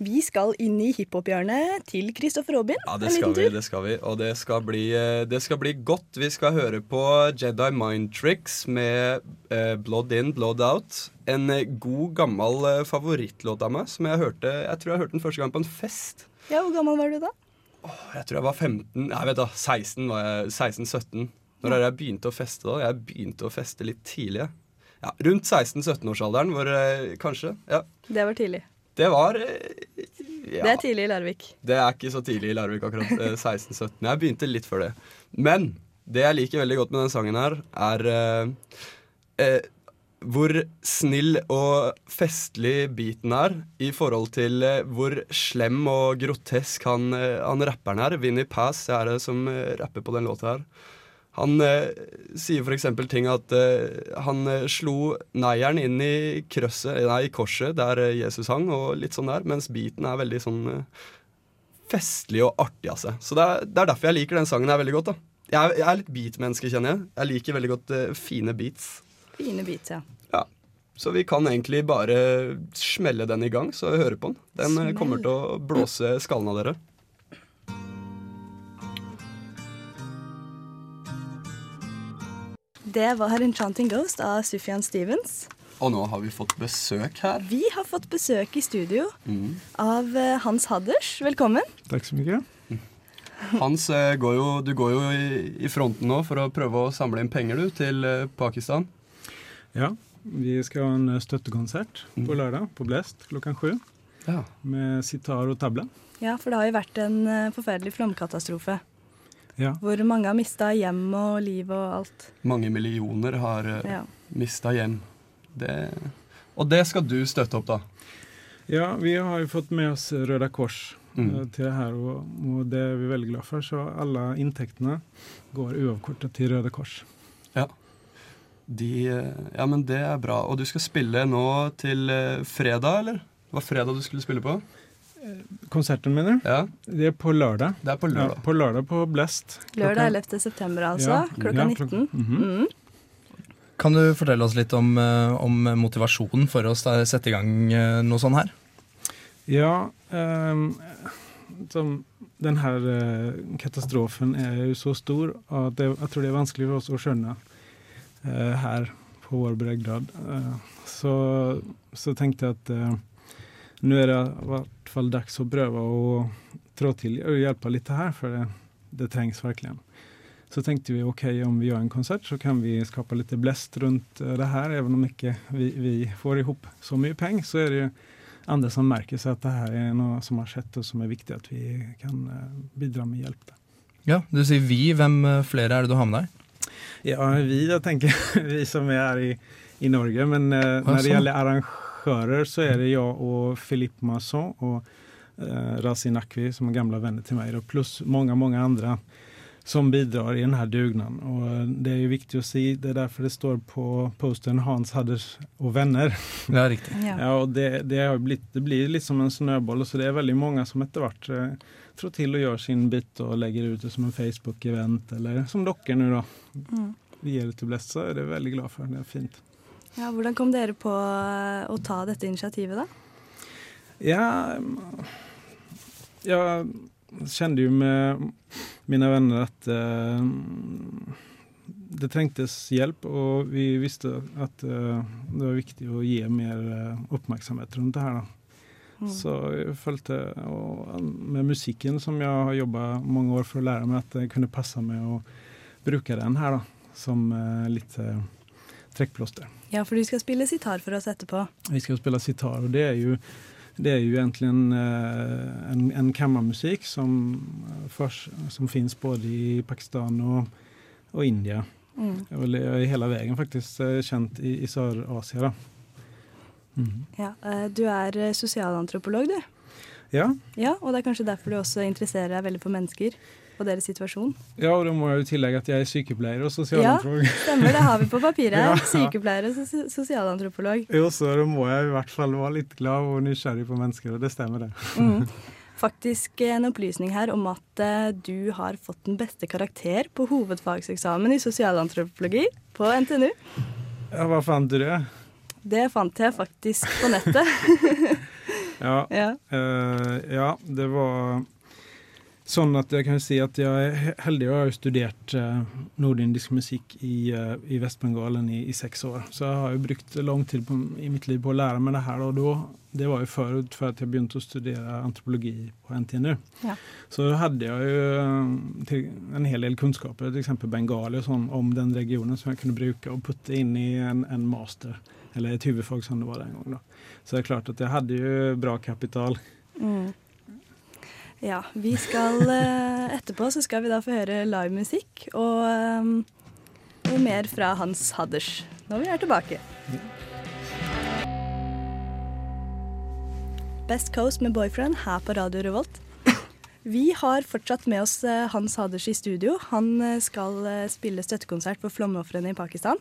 S6: Vi skal inn i hiphop-hjørnet til Kristoffer Robin.
S7: Ja,
S6: en
S7: det skal
S6: liten
S7: vi,
S6: tur.
S7: det skal vi. Og det skal bli, eh, det skal bli godt. Vi skal høre på Jedi Mind Tricks med eh, Blood In, Blood Out. En eh, god, gammel eh, favorittlåt av meg som jeg hørte Jeg tror jeg hørte den første gang på en fest.
S6: Ja, Hvor gammel var du da?
S7: Jeg tror jeg var 15 Nei, vet da, 16 var jeg 16-17 Når er det jeg begynte å feste da? Jeg begynte å feste litt tidlig jeg. ja, Rundt 16-17-årsalderen hvor, eh, Kanskje, ja
S6: Det var tidlig.
S7: Det var eh, ja.
S6: Det er tidlig i Larvik.
S7: Det er ikke så tidlig i Larvik akkurat. eh, 16-17. Jeg begynte litt før det. Men det jeg liker veldig godt med den sangen her, er eh, eh, hvor snill og festlig beaten er i forhold til eh, hvor slem og grotesk han, eh, han rapperen her, Vinnie Pass, er det som eh, rapper på den låta her. Han eh, sier for eksempel ting at eh, han eh, slo neieren inn i, krøsset, nei, i korset der eh, Jesus hang, og litt sånn der, mens beaten er veldig sånn eh, festlig og artig av seg. Så det er, det er derfor jeg liker den sangen her veldig godt. da. Jeg er, jeg er litt beat-menneske, kjenner jeg. Jeg liker veldig godt eh, fine beats.
S6: Fine beats, ja.
S7: Ja. Så vi kan egentlig bare smelle den i gang, så høre på den. Den eh, kommer til å blåse skallen av dere.
S6: Det var 'Enchanting Ghost' av Sufjan Stevens.
S7: Og nå har vi fått besøk her.
S6: Vi har fått besøk i studio
S7: Mm.
S6: av eh, Hans Hadders. Velkommen.
S12: Takk så mye.
S7: Hans, eh, går jo, du går jo i, i fronten nå for å prøve å samle inn penger du, til eh, Pakistan.
S12: Ja, vi skal ha en eh, støttekonsert på lørdag på Blest klokka sju. Med sitar og table.
S6: Ja, for det har jo vært en eh, forferdelig flomkatastrofe.
S12: Ja.
S6: Hvor mange har mista hjem og liv og alt.
S7: Mange millioner har uh,
S6: Ja.
S7: mista hjem. Det, og det skal du støtte opp, da.
S12: Ja, vi har jo fått med oss Røde Kors
S7: Mm.
S12: eh, til det her, og, og det er vi veldig glad for. Så alle inntektene går uavkortet til Røde Kors.
S7: Ja. De, eh, ja, men det er bra. Og du skal spille nå til eh, fredag, eller? Det var fredag du skulle spille på?
S12: Konserten, mener du?
S7: Ja.
S12: Det er på lørdag.
S7: Det er på lørdag.
S12: Ja, på lørdag på Blest.
S6: Lørdag 11. september, altså.
S12: Ja.
S6: Klokka
S12: Ja,
S6: 19.
S12: klok- Mhm.
S6: Mm.
S4: Kan du fortelle oss litt om, eh, om motivasjonen for å sta- sette i gang eh, noe sånn her?
S12: Ja, ehm, som den her eh, katastrofen er jo så stor at det, jeg tror det er vanskelig for oss å skjønne eh, her på vår breddegrad. Eh, så, så tenkte jeg at eh, nå er det i hvert fall dags å prøve å trå til og hjelpe litt her, for det, det trengs virkelig. Så tenkte vi ok, om vi gjør en konsert, så kan vi skape litt blest rundt eh, det her. Even om ikke vi, vi får ihop så mye penger, så er det jo andre som merker seg at det her er noe som har skjedd, og som er viktig at vi kan eh, bidra med hjelp. til.
S4: Ja, Du sier vi. Hvem eh, flere er det du har med deg?
S12: Ja, vi, jeg [LAUGHS] tenker, vi som er her i, i Norge. Men eh, når
S4: sånn.
S12: det gjelder arrangører, så er det jeg og Philippe Masson og eh, Razin Akvi, som er gamle venner til meg, og pluss mange, mange andre som bidrar i denne dugnaden. Og eh, det er jo viktig å si, det er derfor det står på posten 'Hans Hadders og venner'.
S4: Ja, riktig.
S12: Ja, og det, det, har blitt, det blir litt som en snøball, så det er veldig mange som etter hvert eh, trår til og gjør sin bit og legger ut det som en Facebook-event, eller som dere nå, da.
S6: Mm.
S12: Vi gir det til Blest, så er det veldig glad for. Det er fint.
S6: Ja, hvordan kom dere på eh, å ta dette initiativet, da?
S12: Ja, mm, jeg kjente jo med mine venner at eh, det trengtes hjelp, og vi visste at eh, det var viktig å gi mer eh, oppmerksomhet rundt det her. Da.
S6: Mm.
S12: Så jeg følte og med musikken som jeg har jobba mange år for å lære meg, at det kunne passe med å bruke den her da, som eh, litt eh, trekkplåster.
S6: Ja, for du skal spille sitar for oss etterpå.
S12: Vi skal jo spille sitar, og det er jo, det er jo egentlig en, eh, en, en kammermusikk som, eh, förs- som finnes både i Pakistan og, og India.
S6: Mm.
S12: Jeg er vel- jeg er i hele veien faktisk eh, kjent i, i Sør-Asia. da. Mhm.
S6: Ja, eh, du er eh, sosialantropolog, du.
S12: Ja.
S6: Ja, og det er kanskje derfor du også interesserer deg veldig for mennesker og deres situasjon.
S12: ja, og da må jeg jo tillegge at jeg er sykepleier og
S6: Ja,
S12: sosialantropolog.
S6: stemmer, det har vi på papiret.
S12: [LAUGHS] Ja.
S6: her. Sykepleier og sos- sosialantropolog.
S12: [LAUGHS] Jo, så da må jeg i hvert fall være litt glad og nysgjerrig på mennesker, og det stemmer, det.
S6: Mm. Faktisk eh, en opplysning her om at eh, du har fått den beste karakter på hovedfagseksamen i sosialantropologi på NTNU.
S12: Ja, hva fant du det?
S6: Det fant jeg faktisk på nettet.
S12: [LAUGHS] Ja.
S6: Ja.
S12: Eh, ja, det var sånn at jeg kan si at jeg er he- heldig og har jo studert eh, nordindisk musikk i, eh, i Vest-Bengalen i, i seks år. Så jeg har jo brukt lang tid på, i mitt liv på å lære meg det her. Og da, det var jo forut for at jeg begynte å studere antropologi på NTNU.
S6: Ja.
S12: Så hadde jeg jo eh, til, en hel del kunnskaper, f.eks. bengali og sånn, om den regionen som jeg kunne bruke og putte inn i en, en master, eller et hovedfag som det var den gangen. da. Så det er klart at jeg hadde jo bra kapital.
S6: Mm. Ja, vi skal [LAUGHS] eh, etterpå så skal vi da få høre livemusikk og eh, noe mer fra Hans Hadders når vi er tilbake. Best Coast med Boyfriend her på Radio Revolt. Vi har fortsatt med oss eh, Hans Hadders i studio. Han eh, skal eh, spille støttekonsert for flomofrene i Pakistan.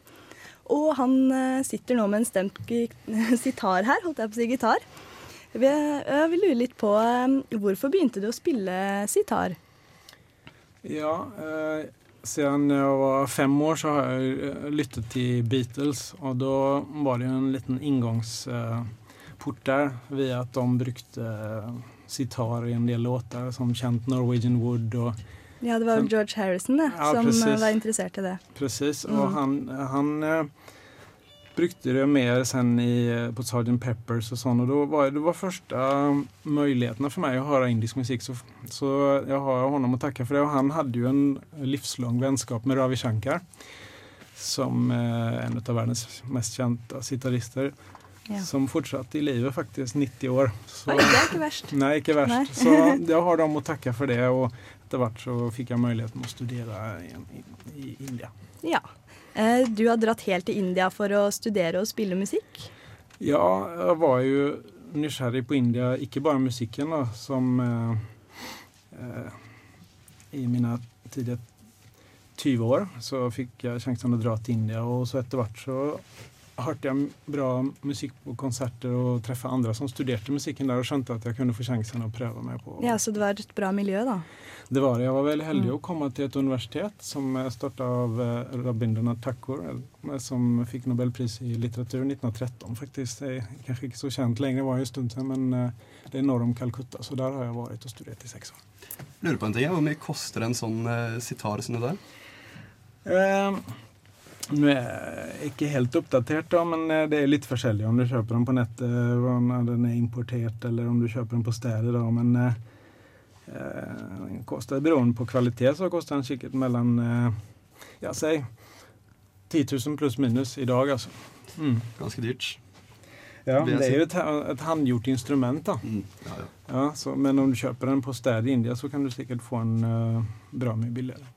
S6: Og han eh, sitter nå med en stemt gi- [LAUGHS] sitar her, holdt jeg på å si gitar. Vi, jeg vil lure litt på eh, hvorfor begynte du å spille sitar?
S12: Ja, eh, siden jeg var fem år så har jeg eh, lyttet til Beatles, og da var det jo en liten inngangsport der ved at de brukte eh, sitar i en del låter, som kjent Norwegian Wood og
S6: Ja, det var
S12: Som-
S6: George Harrison det,
S12: Ja,
S6: som eh,
S12: precis.
S6: var interessert i det.
S12: Precis,
S6: Mm.
S12: og han, han eh, brukte det mer sen i, eh, på Sgt. Peppers og sånn, og da var det var første mulighetene for meg å høre indisk musikk, så, så jeg har honom å takke for det, og han hadde jo en livslang vennskap med Ravi Shankar, som eh, en av verdens mest kjente sitarister,
S6: Ja.
S12: som fortsatte i livet faktisk 90 år. Så,
S6: Oi, det er ikke verst.
S12: [LAUGHS] Nei, ikke verst.
S6: Nei.
S12: Så jeg har dem å takke for det, og etter hvert så fikk jeg muligheten å studere i, i, i India.
S6: Ja. Eh, Du har dratt helt til India for å studere og spille musikk.
S12: Ja, jeg var jo nysgjerrig på India, ikke bare musikken, da, som eh, eh, I mine tidlige 20 år så fikk jeg sjansen å dra til India, og så etter hvert så hørte jeg bra musikk på konserter og treffe andre som studerte musikken der, og skjønte at jeg kunne få sjansen å prøve meg på
S6: Ja, Så det var et bra miljø, da.
S12: Det var det. Jeg var veldig heldig å komme til et universitet som starta av eh, Rabindranath Thakur, eh, som fikk Nobelpris i litteratur 1913, faktisk. Det er kanskje ikke så kjent lenger, det var jo en stund siden, men eh, det er norr om Calcutta, så der har jeg vært og studert i seks år.
S7: Lurer på en ting, ja. Hvor mye koster en sånn eh, sitar som det der?
S12: Eh, Nå er jeg ikke helt oppdatert, da, men eh, det er litt forskjellig om du kjøper den på nettet, om den er importert, eller om du kjøper den på stedet. Da. Men eh, eh, den koster, beroende på kvalitet så koster den sikkert mellom eh, ja, si 10 000 pluss minus i dag, altså. Mm.
S7: Ganske dyrt.
S12: Ja,
S7: vil jeg
S12: men det
S7: si.
S12: er jo et, et håndgjort instrument, da.
S7: Mm. ja, ja.
S12: så, men om du kjøper den på stedet i India, så kan du sikkert få den eh, bra mye billigere.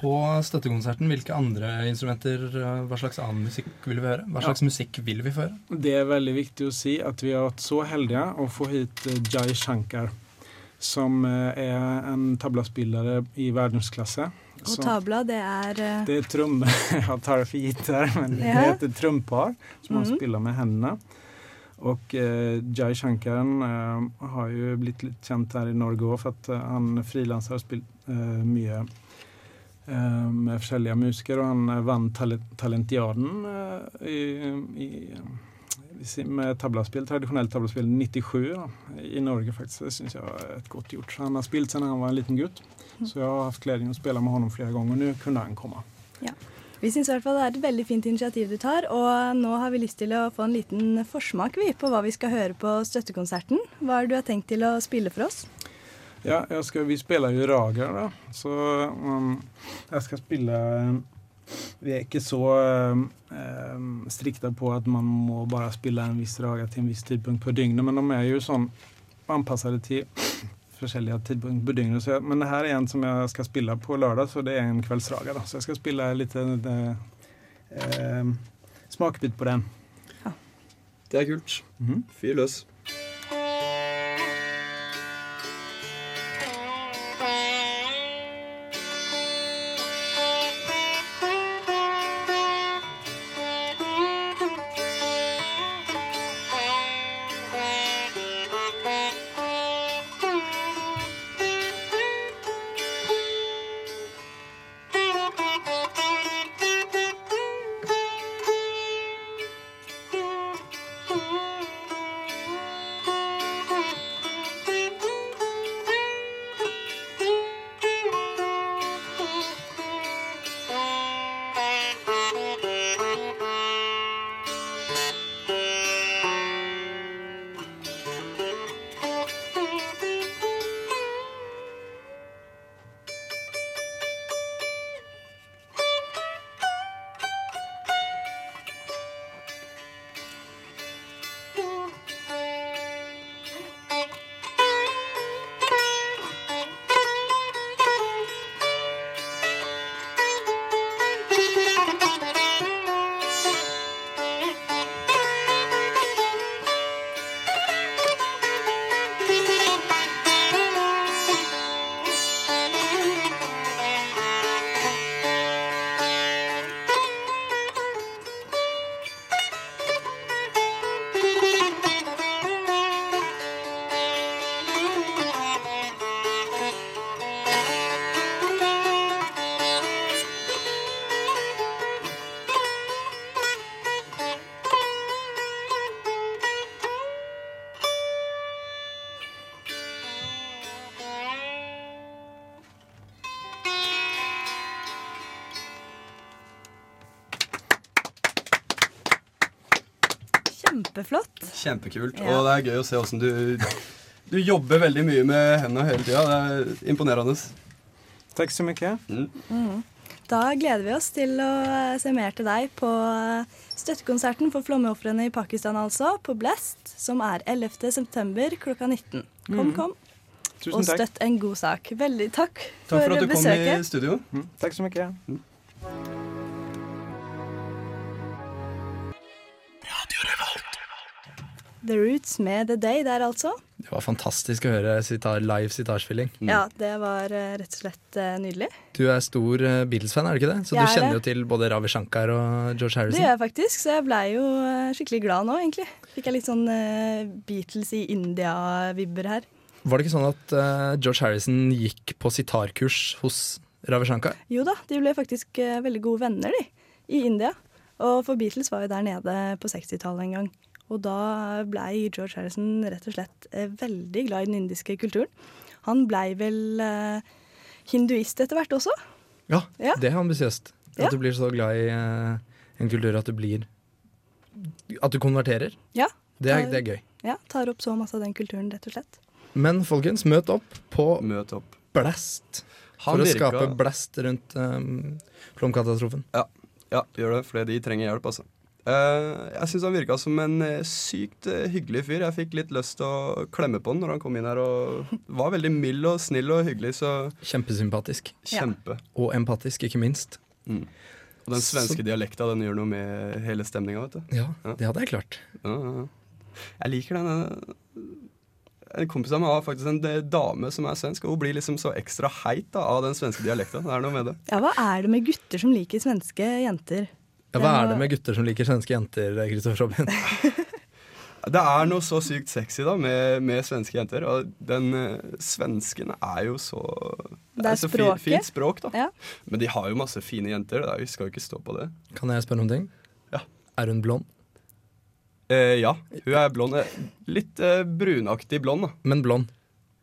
S13: På støttekonserten, hvilke andre instrumenter, eh, hva slags annen musikk vil vi høre? Hva
S12: Ja.
S13: slags musikk vil vi få høre?
S12: Det er veldig viktig å si at vi har vært så heldige å få hit eh, Jai Shankar, som eh, er en tablaspiller i verdensklasse.
S6: Og
S12: Så-
S6: tabla, det er eh,
S12: det er [LAUGHS] tromme Jeg tar det for gitt her, men det
S6: Ja.
S12: heter trompar, som han
S6: Mhm.
S12: spiller med hendene. Og eh, Jai Shankar eh, har jo blitt litt kjent her i Norge òg, for at eh, han frilanser og spilt eh, mye eh, med forskjellige musikere, og han eh, vant tale- Talentiaden eh, i, i, i med tablaspill, tradisjonelt tablaspill 97 da, i Norge, faktisk. Det syns jeg er et godt gjort. Så han har spilt siden han var en liten gutt, så jeg har hatt gleden av å spille med ham flere ganger, og nå kunne han komme.
S6: Vi syns i hvert fall det er et veldig fint initiativ du tar, og nå har vi lyst til å få en liten forsmak vi, på hva vi skal høre på støttekonserten. Hva er det du har tenkt til å spille for oss?
S12: Ja, jeg skal, vi spiller jo rager, da. Så um, jeg skal spille um, Vi er ikke så um, um, strikta på at man må bare spille en viss rager til en viss tidpunkt på døgnet, men de er jo sånn anpasset til forskjellige tidpunkter på døgnet. Så jeg, men det her er en som jeg skal spille på lørdag, så det er en kveldsrager. da. Så jeg skal spille litt eh, um, smakebit på den.
S7: Det er kult. Fyr løs.
S6: Kjempeflott.
S7: Kjempekult.
S6: Ja.
S7: Og det er gøy å se åssen du Du jobber veldig mye med hendene hele tida. Det er imponerende.
S12: Takk så mye.
S6: Mhm. Da gleder vi oss til å eh, se mer til deg på eh, støttekonserten for flommeofrene i Pakistan, altså, på Blest, som er 11. september klokka 19. Kom,
S12: Mhm.
S6: kom.
S12: Tusen
S6: og
S12: takk.
S6: støtt en god sak. Veldig takk,
S7: Takk for at du kom
S6: besøket.
S7: i studio.
S12: Takk så mye.
S6: The Roots med The Day der, altså.
S4: Det var fantastisk å høre sitar, live sitarspilling.
S7: Mm.
S6: Ja, det var eh, rett og slett eh, nydelig.
S4: Du er stor eh, Beatles-fan, er du ikke det? Så du
S6: Jeg er
S4: kjenner
S6: det.
S4: jo til både Ravi Shankar og George
S6: Det gjør
S4: Harrison.
S6: jeg faktisk, så jeg blei jo eh, skikkelig glad nå, egentlig. Fikk jeg litt sånn eh, Beatles i India-vibber her.
S4: Var det ikke sånn at eh, George Harrison gikk på sitarkurs hos Ravi Shankar?
S6: Jo da, de ble faktisk eh, veldig gode venner, de, i India. Og for Beatles var jo der nede på 60-tallet en gang. Og da blei George Harrison rett og slett eh, veldig glad i den indiske kulturen. Han blei vel eh, hinduist etter hvert også.
S4: Ja,
S6: Ja.
S4: det er ambisiøst.
S6: Ja.
S4: At du blir så glad i eh, en kultur at du blir At du konverterer.
S6: Ja,
S4: Det er,
S6: tar-
S4: det er gøy.
S6: Ja, tar opp så masse av den kulturen, rett og slett.
S4: Men folkens, møt opp på Blast.
S7: Han
S4: for å
S7: virka-
S4: skape blast rundt um, flomkatastrofen.
S7: Ja, ja gjør det, for de trenger hjelp, altså. Eh, jeg syns han virka som en eh, sykt eh, hyggelig fyr. Jeg fikk litt lyst til å klemme på han når han kom inn her. Og var veldig mild og snill og hyggelig, så
S4: Kjempesympatisk.
S7: Ja. Kjempe.
S4: Og empatisk, ikke minst.
S7: Og den
S4: Så-
S7: svenske dialekta, den gjør noe med hele stemninga, vet du.
S4: Ja, det hadde jeg klart.
S7: Ja, ja, ja. Jeg liker den eh, En kompis av meg har faktisk en eh, dame som er svensk, og hun blir liksom så ekstra heit da, av den svenske dialekta. Det er noe med det.
S6: Ja, hva er det med gutter som liker svenske jenter?
S4: Ja, hva
S6: eh,
S4: er det med gutter som liker svenske jenter, Kristoffer
S6: [LAUGHS]
S4: Robin?
S7: Det er noe så sykt sexy da med, med svenske jenter. Og den eh, svensken er jo så
S6: Det er
S7: så fi-
S6: språket.
S7: fint språk, da.
S6: Ja.
S7: Men de har jo masse fine jenter. Det er, vi skal jo ikke stå på det.
S4: Kan jeg spørre om ting?
S7: Ja.
S4: Er hun blond?
S7: Eh, ja, hun er blond. eh, Litt eh, brunaktig blond, da.
S4: Men blond.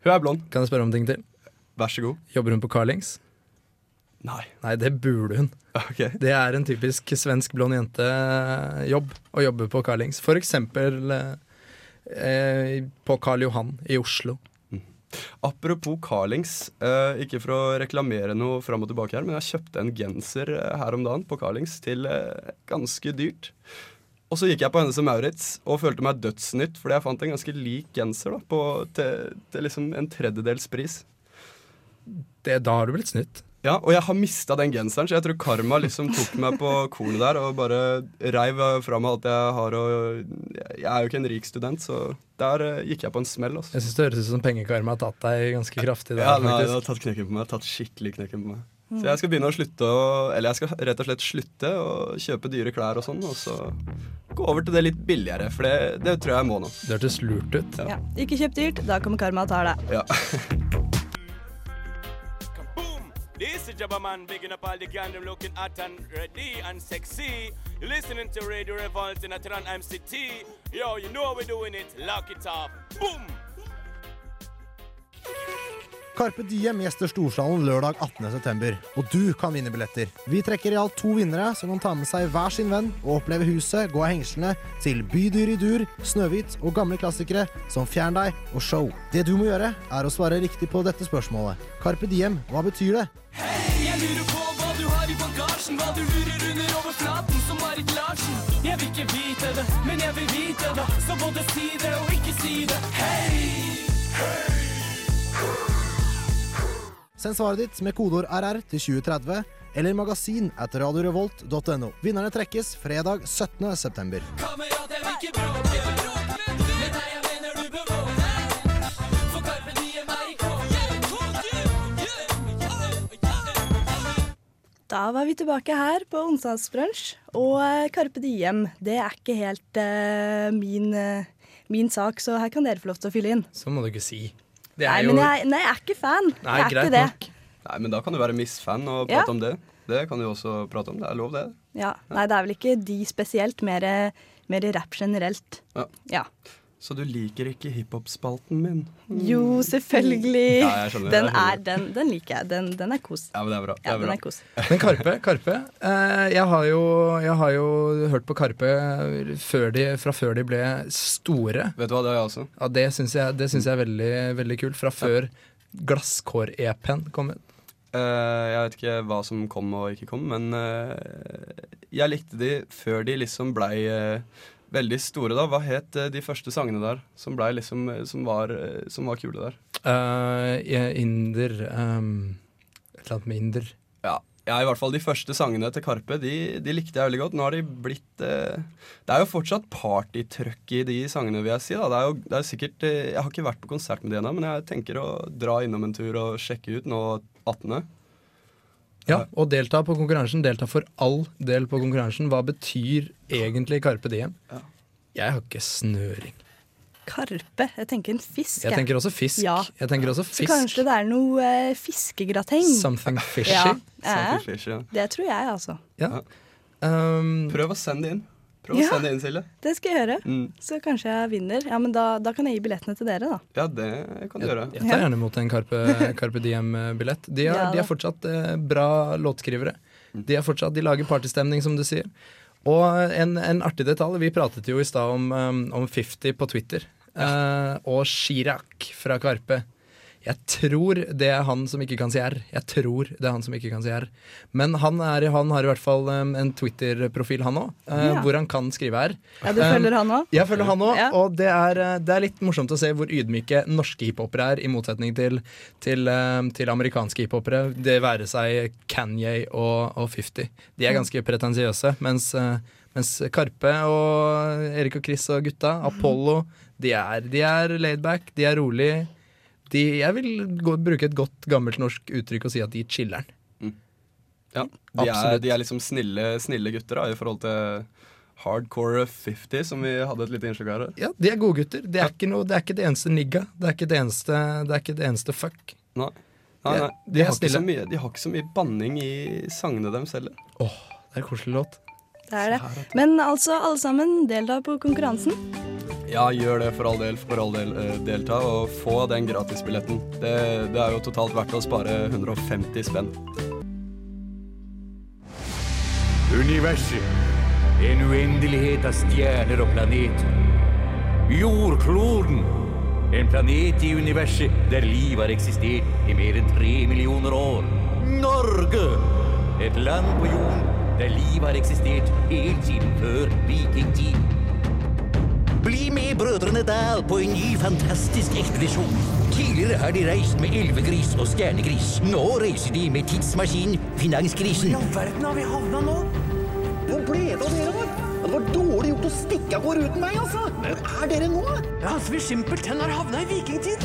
S7: Hun er blond.
S4: Kan jeg spørre om ting til?
S7: Vær så god.
S4: Jobber hun på Carlings? Nei. det burde hun. Det er en typisk svensk blond jente-jobb å jobbe på Carlings. For eksempel eh, på Karl Johan i Oslo.
S7: Apropos Carlings, eh, ikke for å reklamere noe fram og tilbake her, men jeg kjøpte en genser eh, her om dagen på Carlings til eh, ganske dyrt. Og så gikk jeg på Hennes og Maurits og følte meg dødsnytt, fordi jeg fant en ganske lik genser da, på, til, til liksom en tredjedels pris.
S4: da har du blitt snytt.
S7: Ja, og jeg har mista den genseren, så jeg tror karma liksom tok meg på kornet der og bare reiv eh, fra meg alt jeg har. Og jeg er jo ikke en rik student, så der eh, gikk jeg på en smell. Altså.
S4: Jeg syns det høres ut som pengekarma har tatt deg ganske kraftig der.
S7: Ja, nei, det
S4: faktisk.
S7: har tatt knekken på meg. Tatt skikkelig knekken på meg.
S4: Mm.
S7: Så jeg skal begynne å slutte å Eller jeg skal rett og slett slutte å kjøpe dyre klær og sånn, og så gå over til det litt billigere, for det, det tror jeg jeg må nå.
S4: Det hørtes lurt ut.
S6: Ja. Ikke kjøp dyrt, da kommer karma og tar deg.
S7: Ja.
S14: This is Jabba Man, bigging up all the gang, I'm looking at and ready and sexy. You're listening to Radio Revolt in Atran MCT. Yo, you know how we're doing it. Lock it up. Boom!
S15: Carpe Diem gjester Storsalen lørdag 18.9, og du kan vinne billetter. Vi trekker i alt to vinnere som kan ta med seg hver sin venn og oppleve huset, gå av hengslene, til bydyr i dur, Snøhvit og gamle klassikere som Fjern deg og Show. Det du må gjøre, er å svare riktig på dette spørsmålet. Carpe Diem, hva betyr det?
S16: Jeg lurer på hva du har i bagasjen, hva du lurer under overflaten som Marit Larsen. Jeg vil ikke vite det, men jeg vil vite det, så både si det og ikke si det. Hei!
S15: Send svaret ditt med kodeord RR til 2030 eller magasin at radiorevolt.no. Vinnerne trekkes fredag 17.9.
S16: Kamerat, jeg vil ikke bråke. Men nei, jeg mener du bør våkne. For Carpe Diem er i kåken.
S6: Da var vi tilbake her på onsdagsbrunsj, og eh, Carpe Diem, det er ikke helt eh, min, eh, min sak, så her kan dere få lov til å fylle inn.
S4: Så må du ikke si.
S7: Det
S6: Nei, men jeg, nei, jeg er ikke fan.
S7: Nei,
S6: jeg er
S7: greit
S6: ikke det.
S7: nok. Nei, men da kan du være Miss-fan og
S6: Ja.
S7: prate om det. Det kan du jo også prate om. Det er lov, det.
S6: Ja, nei, det er vel ikke de spesielt, mer, eh, mer rapp generelt.
S7: Ja.
S6: Ja.
S7: Så du liker ikke hiphop-spalten min?
S6: Jo, selvfølgelig.
S7: Mm. Ja, jeg skjønner,
S6: den,
S7: jeg skjønner.
S6: er, den, den liker jeg. Den, den er kos.
S7: Ja, men det er bra.
S6: Ja,
S7: det er
S6: den
S7: bra.
S6: er kos.
S4: Men Karpe, Karpe eh, jeg, har jo, jeg har jo hørt på Karpe før de, fra før de ble store.
S7: Vet du hva, Det har jeg også.
S4: Ja, Det syns jeg, det syns jeg er veldig, veldig kult. Fra før glasskår-EP-en kom ut.
S7: Eh, jeg vet ikke hva som kom og ikke kom, men eh, jeg likte de før de liksom blei eh, veldig store, da. Hva het eh, de første sangene der som, blei liksom, eh, som, var, eh, som var kule der?
S4: Eh, jeg- inder ehm, Et eller annet med inder.
S7: Ja. ja, i hvert fall de første sangene til Karpe, de, de likte jeg veldig godt. Nå har de blitt eh, Det er jo fortsatt partytrøkk i de sangene, vil jeg si. da. Det er jo det er sikkert eh, Jeg har ikke vært på konsert med de ennå, men jeg tenker å dra innom en tur og sjekke ut nå 18.
S4: Ja, og delta på konkurransen. Delta for all del på konkurransen. Hva betyr egentlig Karpe Diem? Jeg har ikke snøring.
S6: Karpe. Jeg tenker en fisk.
S4: Jeg tenker også fisk.
S6: Ja.
S4: Jeg tenker også
S6: Så
S4: fisk.
S6: kanskje det er noe eh, fiskegrateng.
S4: Something fishy.
S6: Ja.
S7: Something
S6: eh,
S7: fishy, ja.
S6: Det tror jeg, altså.
S4: Ja. Ehm,
S7: Prøv å sende det inn. Prøv
S6: Ja.
S7: å sende det inn, Silje.
S6: Det skal jeg gjøre.
S7: Mm.
S6: Så kanskje jeg vinner. Ja, men da, da kan jeg gi billettene til dere, da.
S7: Ja, det kan du gjøre.
S4: Jeg tar gjerne imot en Carpe, Carpe Diem-billett. De, er-
S6: Ja,
S4: de
S6: da.
S4: er fortsatt eh, bra låtskrivere. De, er fortsatt, de lager partystemning, som du sier. Og en, en artig detalj Vi pratet jo i stad om, eh, om 50 på Twitter. Eh, og Chirac fra Karpe. Jeg tror det er han som ikke kan si R. Jeg tror det er han som ikke kan si R. Men han, er, han har i hvert fall eh, en Twitter-profil, han òg,
S6: Ja.
S4: hvor han kan skrive R.
S6: Ja, du
S4: Eh,
S6: følger han òg?
S4: jeg følger han òg, og det er, eh, det er litt morsomt å se hvor ydmyke norske hiphopere er, i motsetning til, til, eh, til amerikanske hiphopere. Det være seg Kanye og, og 50. De er ganske pretensiøse, mens, eh, mens Karpe og Erik og Chris og gutta, Apollo, de er, de er laid back, de er rolig. De, jeg vil gå, bruke et godt gammelt norsk uttrykk og si at de chiller'n.
S7: Ja, de er,
S4: Absolutt.
S7: de er liksom snille, snille gutter da, i forhold til hardcore 50, som vi hadde et lite innslag av her.
S4: Ja, de er gode gutter. Det er ikke, noe, det, er ikke det eneste nigga. Det er ikke det eneste, det er ikke det eneste fuck.
S7: Nei. Nei,
S4: De er-
S7: nei.
S4: de
S7: De,
S4: er
S7: har ikke så
S4: snille.
S7: mye, de har ikke så mye banning i sangene dem selv.
S4: Det er en koselig låt.
S6: Det er det. Men altså, alle sammen, del da på konkurransen.
S7: Ja, gjør det for all del, for all del. eh, delta, og få den gratisbilletten. Det, det er jo totalt verdt å spare 150 spenn.
S17: Universet. En oändlighet av stjärnor och planeter. Jordkloden. En planet i universet där liv har existerat i mer än tre miljoner år. Norge! Ett land på jorden där liv har existerat helt tiden för vikingtiden. Bli med Brødrene Dal på en ny fantastisk ekspedisjon. Tidligere har de reist med elvegris og stjernegris. Nå reiser de med tidsmaskinen Finansgrisen.
S16: verden har vi havna nå? Hvor ble det av dere, da? Det var dårlig gjort å stikke av gårde uten meg, altså. Hvor er dere nå? Ja, altså, vi simpelthen har havna i vikingtid.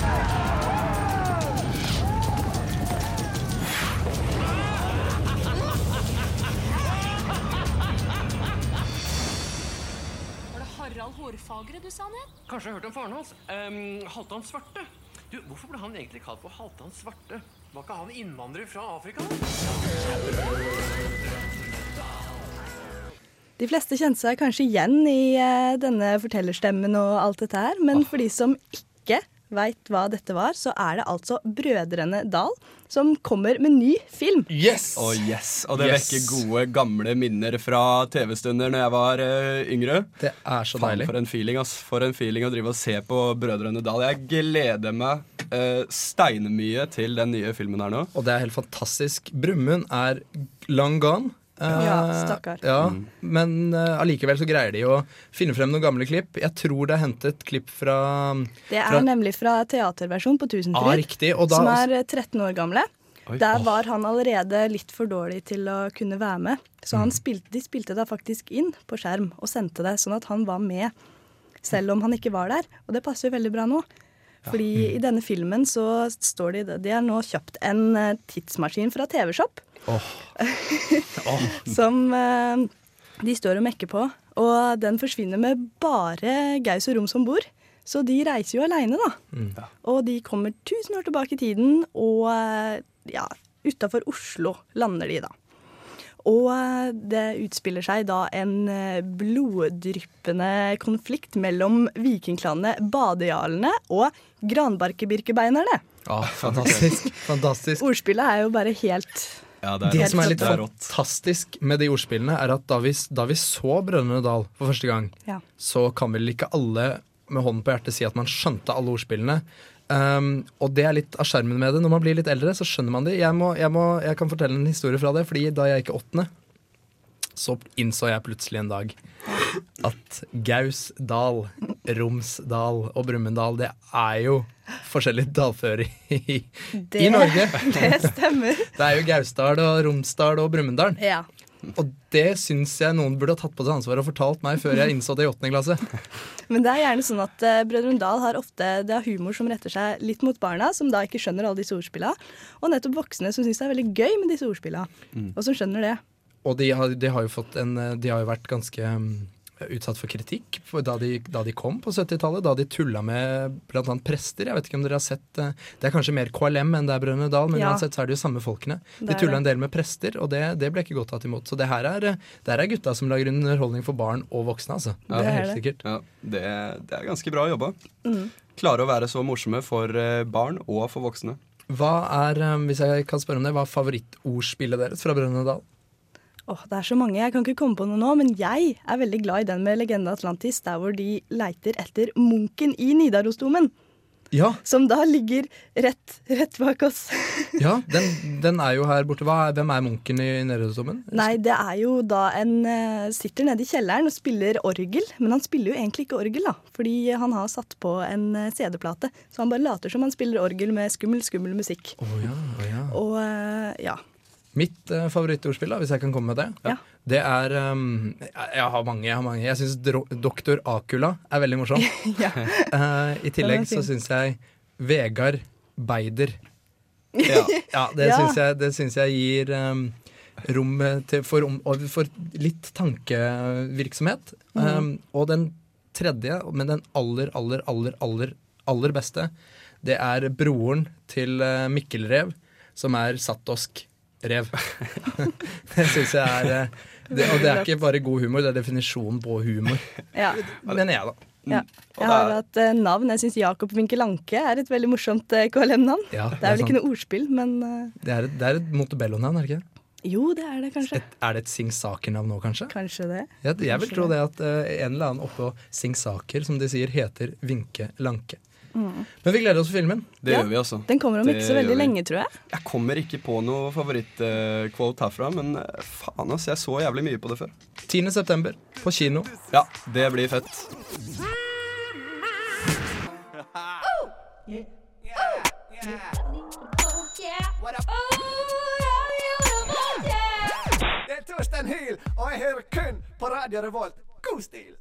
S18: Var det Harald Hårfagre du sa han het?
S19: Kanskje jeg har hørt om faren hans? Ehm, Halvdan Svarte. Du, Hvorfor ble han egentlig kalt for Halvdan Svarte? Var ikke han innvandrer fra Afrika?
S6: De fleste kjente seg kanskje igjen i eh, denne fortellerstemmen og alt dette her, men for de som ikke veit hva dette var, så er det altså Brødrene Dal som kommer med ny film.
S7: Yes! Oh, yes. Og det
S6: Yes.
S7: vekker gode, gamle minner fra TV-stunder når jeg var eh, yngre.
S4: Det er så deilig.
S7: For en feeling ass. For en feeling å drive og se på Brødrene Dal. Jeg gleder meg eh, steinmye til den nye filmen her nå.
S4: Og det er helt fantastisk. Brumund er long gone. Eh,
S7: Ja, stakkar.
S4: ja,
S7: Mm.
S4: Men eh, allikevel så greier de å finne frem noen gamle klipp. Jeg tror det er hentet klipp fra
S6: Det er
S4: fra-
S6: nemlig fra teaterversjonen på
S4: Ah,
S6: Tusenfryd,
S4: riktig, og da-
S6: som er eh, 13 år gamle.
S4: Oi.
S6: Der
S4: Åh.
S6: var han allerede litt for dårlig til å kunne være med, så
S4: Mm.
S6: han spilte, de spilte det faktisk inn på skjerm og sendte det, sånn at han var med, selv om han ikke var der. Og det passer jo veldig bra nå. Fordi
S4: Mm.
S6: i denne filmen så står de De har nå kjøpt en eh, tidsmaskin fra TV-Shop som eh, de står og mekker på. Og den forsvinner med bare Gaus og Rom som bor. Så de reiser jo aleine, da.
S4: Mm.
S6: Og de kommer 1000 år tilbake i tiden, og eh, ja, utafor Oslo lander de, da. Og eh, det utspiller seg da en eh, bloddryppende konflikt mellom vikingklanene Badejarlene og Granbarkebirkebeinerne.
S4: Ah, [LAUGHS] fantastisk. fantastisk.
S6: Ordspillet er jo bare helt
S4: det,
S6: helt
S4: som er litt
S6: fantastisk.
S4: fantastisk med de ordspillene, er at da vi, da vi så Brønnøy Dal for første gang,
S6: Ja.
S4: så kan vel ikke alle med hånden på hjertet si at man skjønte alle ordspillene. Um, og det er litt av skjermen med det. Når man blir litt eldre, så skjønner man det. Jeg, må, jeg, må, jeg kan fortelle en historie fra det, fordi da jeg gikk i åttende, så innså jeg plutselig en dag at Gausdal, Romsdal og Brumunddal, det er jo forskjellig dalføre i, i Norge.
S6: [LAUGHS] Det stemmer.
S4: Det er jo Gausdal og Romsdal og Brumunddal.
S6: Ja.
S4: Og det syns jeg noen burde ha tatt på seg ansvaret og fortalt meg før jeg innså det i åttende klasse.
S6: Men det er gjerne sånn at eh, Brødrene Dal har ofte det har humor som retter seg litt mot barna, som da ikke skjønner alle disse ordspillene, og nettopp voksne som syns det er veldig gøy med disse ordspillene, og som skjønner det.
S4: Og de har, de har, jo, fått en, eh, de har jo vært ganske mm, utsatt for kritikk for da de, da de kom på 70-tallet, da de tulla med bl.a. prester. Jeg vet ikke om dere har sett eh, Det er kanskje mer KLM enn det er Brønnøy Dal, men
S13: Ja.
S4: uansett så er det jo samme folkene.
S13: Det
S4: De
S13: er
S4: tulla
S13: det.
S4: en del med prester, og det, det ble ikke godt tatt imot. Så det her er, eh, det her er gutta som lager underholdning for barn og voksne, altså. Det er helt sikkert.
S7: Ja, det, det er ganske bra jobba.
S4: Mm.
S7: Klare å være så morsomme for eh, barn og for voksne.
S4: Hva er, eh, hvis jeg kan spørre om det, hva er favorittordspillet deres fra Brønnøy Dal?
S6: Åh, det er så mange. Jeg kan ikke komme på noe nå, men jeg er veldig glad i den med Legende Atlantis, der hvor de leiter etter munken i Nidarosdomen.
S4: Ja.
S6: Som da ligger rett, rett bak oss. [LAUGHS]
S4: Ja, den, den er jo her borte. Hva er, hvem er munken i Nerødsdommen?
S6: Nei, det er jo da en eh, sitter nede i kjelleren og spiller orgel, men han spiller jo egentlig ikke orgel, da, fordi han har satt på en eh, CD-plate, så han bare later som han spiller orgel med skummel, skummel musikk. Og eh, ja. [LAUGHS]
S4: Mitt eh, favorittordspill, da, hvis jeg kan komme med det, det er um, jeg, jeg har mange. Jeg har mange. Jeg syns Doktor Akula er veldig morsom. Eh, I tillegg
S13: Den er fin.
S4: så syns jeg Vegard
S13: [LAUGHS]
S4: Beider.
S13: Ja.
S4: ja det
S13: Ja.
S4: syns jeg, det syns jeg gir um, rom eh, til, for, om- og for litt tankevirksomhet. Um,
S13: Mhm.
S4: og den tredje, men den aller, aller, aller, aller, aller beste, det er broren til eh, Mikkel Rev, som er Satosk Rev. [LAUGHS] det syns jeg er eh, det, Og det er ikke bare god humor, det er definisjonen på
S13: [LAUGHS]
S4: humor. [LAUGHS]
S6: ja.
S4: Mener jeg, da.
S6: Ja. Jeg har hatt eh, navn. Jeg syns Jakob Winkelanke er et veldig morsomt eh, KLM-navn.
S4: Ja,
S6: det,
S4: det er
S6: er vel ikke
S4: sant.
S6: noe ordspill, men eh,
S4: Det er et, det er et Montebello-navn, er det ikke?
S6: Jo, det er det kanskje.
S4: Er det et singsaker-navn nå, kanskje?
S6: Kanskje det.
S4: Jeg, jeg vil
S6: Kanskje
S4: tro det at eh, en eller annen oppå Singsaker, som de sier, heter Vinke Lanke.
S6: Mm.
S4: Men vi gleder oss til filmen.
S7: Det gjør vi, altså.
S6: Den kommer om ikke så
S7: Det
S6: veldig
S7: gjør vi.
S6: lenge, tror jeg.
S7: Jeg kommer ikke på noe favorittquote herfra, men eh, faen, ass. Jeg så jævlig mye på det før.
S4: 10. september, på kino.
S7: Ja, det blir fett.
S8: Oh,
S20: Det er Torstein Hyl, og jeg hører kun på Radio Revolt. God stil!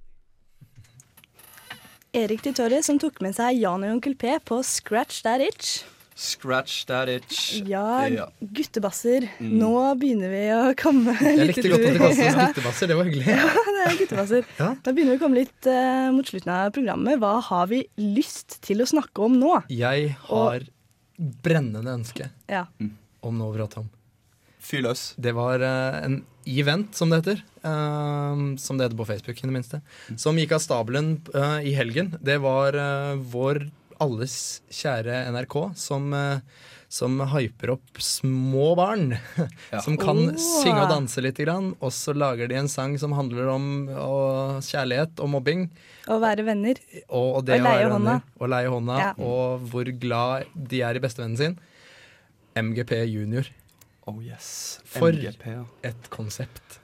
S6: Erik Titori som tok med seg Jan og Onkel P på Scratch That Itch.
S7: Scratch that itch.
S6: Ja,
S7: Ja.
S6: guttebasser.
S7: Mm.
S6: Nå begynner vi å komme litt
S4: Jeg likte godt at det
S6: utover.
S4: kastes
S6: Ja.
S4: guttebasser, det var hyggelig.
S6: [LAUGHS] Ja, det er guttebasser. Da begynner vi å komme litt eh, mot slutten av programmet. Hva har vi lyst til å snakke om nå?
S4: Jeg har brennende ønske
S6: Ja.
S4: Mm. om noe å prate om.
S7: Fyr løs.
S4: Det var eh, en event, som det heter. eh, som det heter på Facebook, i det minste. Som gikk av stabelen eh, i helgen. Det var eh, vår alles kjære NRK som eh, som hyper opp små barn [LAUGHS] som kan
S13: Åh.
S4: synge og danse litt. Grann, og så lager de en sang som handler om å- kjærlighet og mobbing.
S6: Å være venner.
S4: Og, og det å
S6: Og leie
S4: være
S6: hånda.
S4: venner, Og leie hånda.
S6: Ja.
S4: Og hvor glad de er i bestevennen sin. MGP junior.
S7: Oh yes.
S4: For
S7: MGP, ja.
S4: et konsept.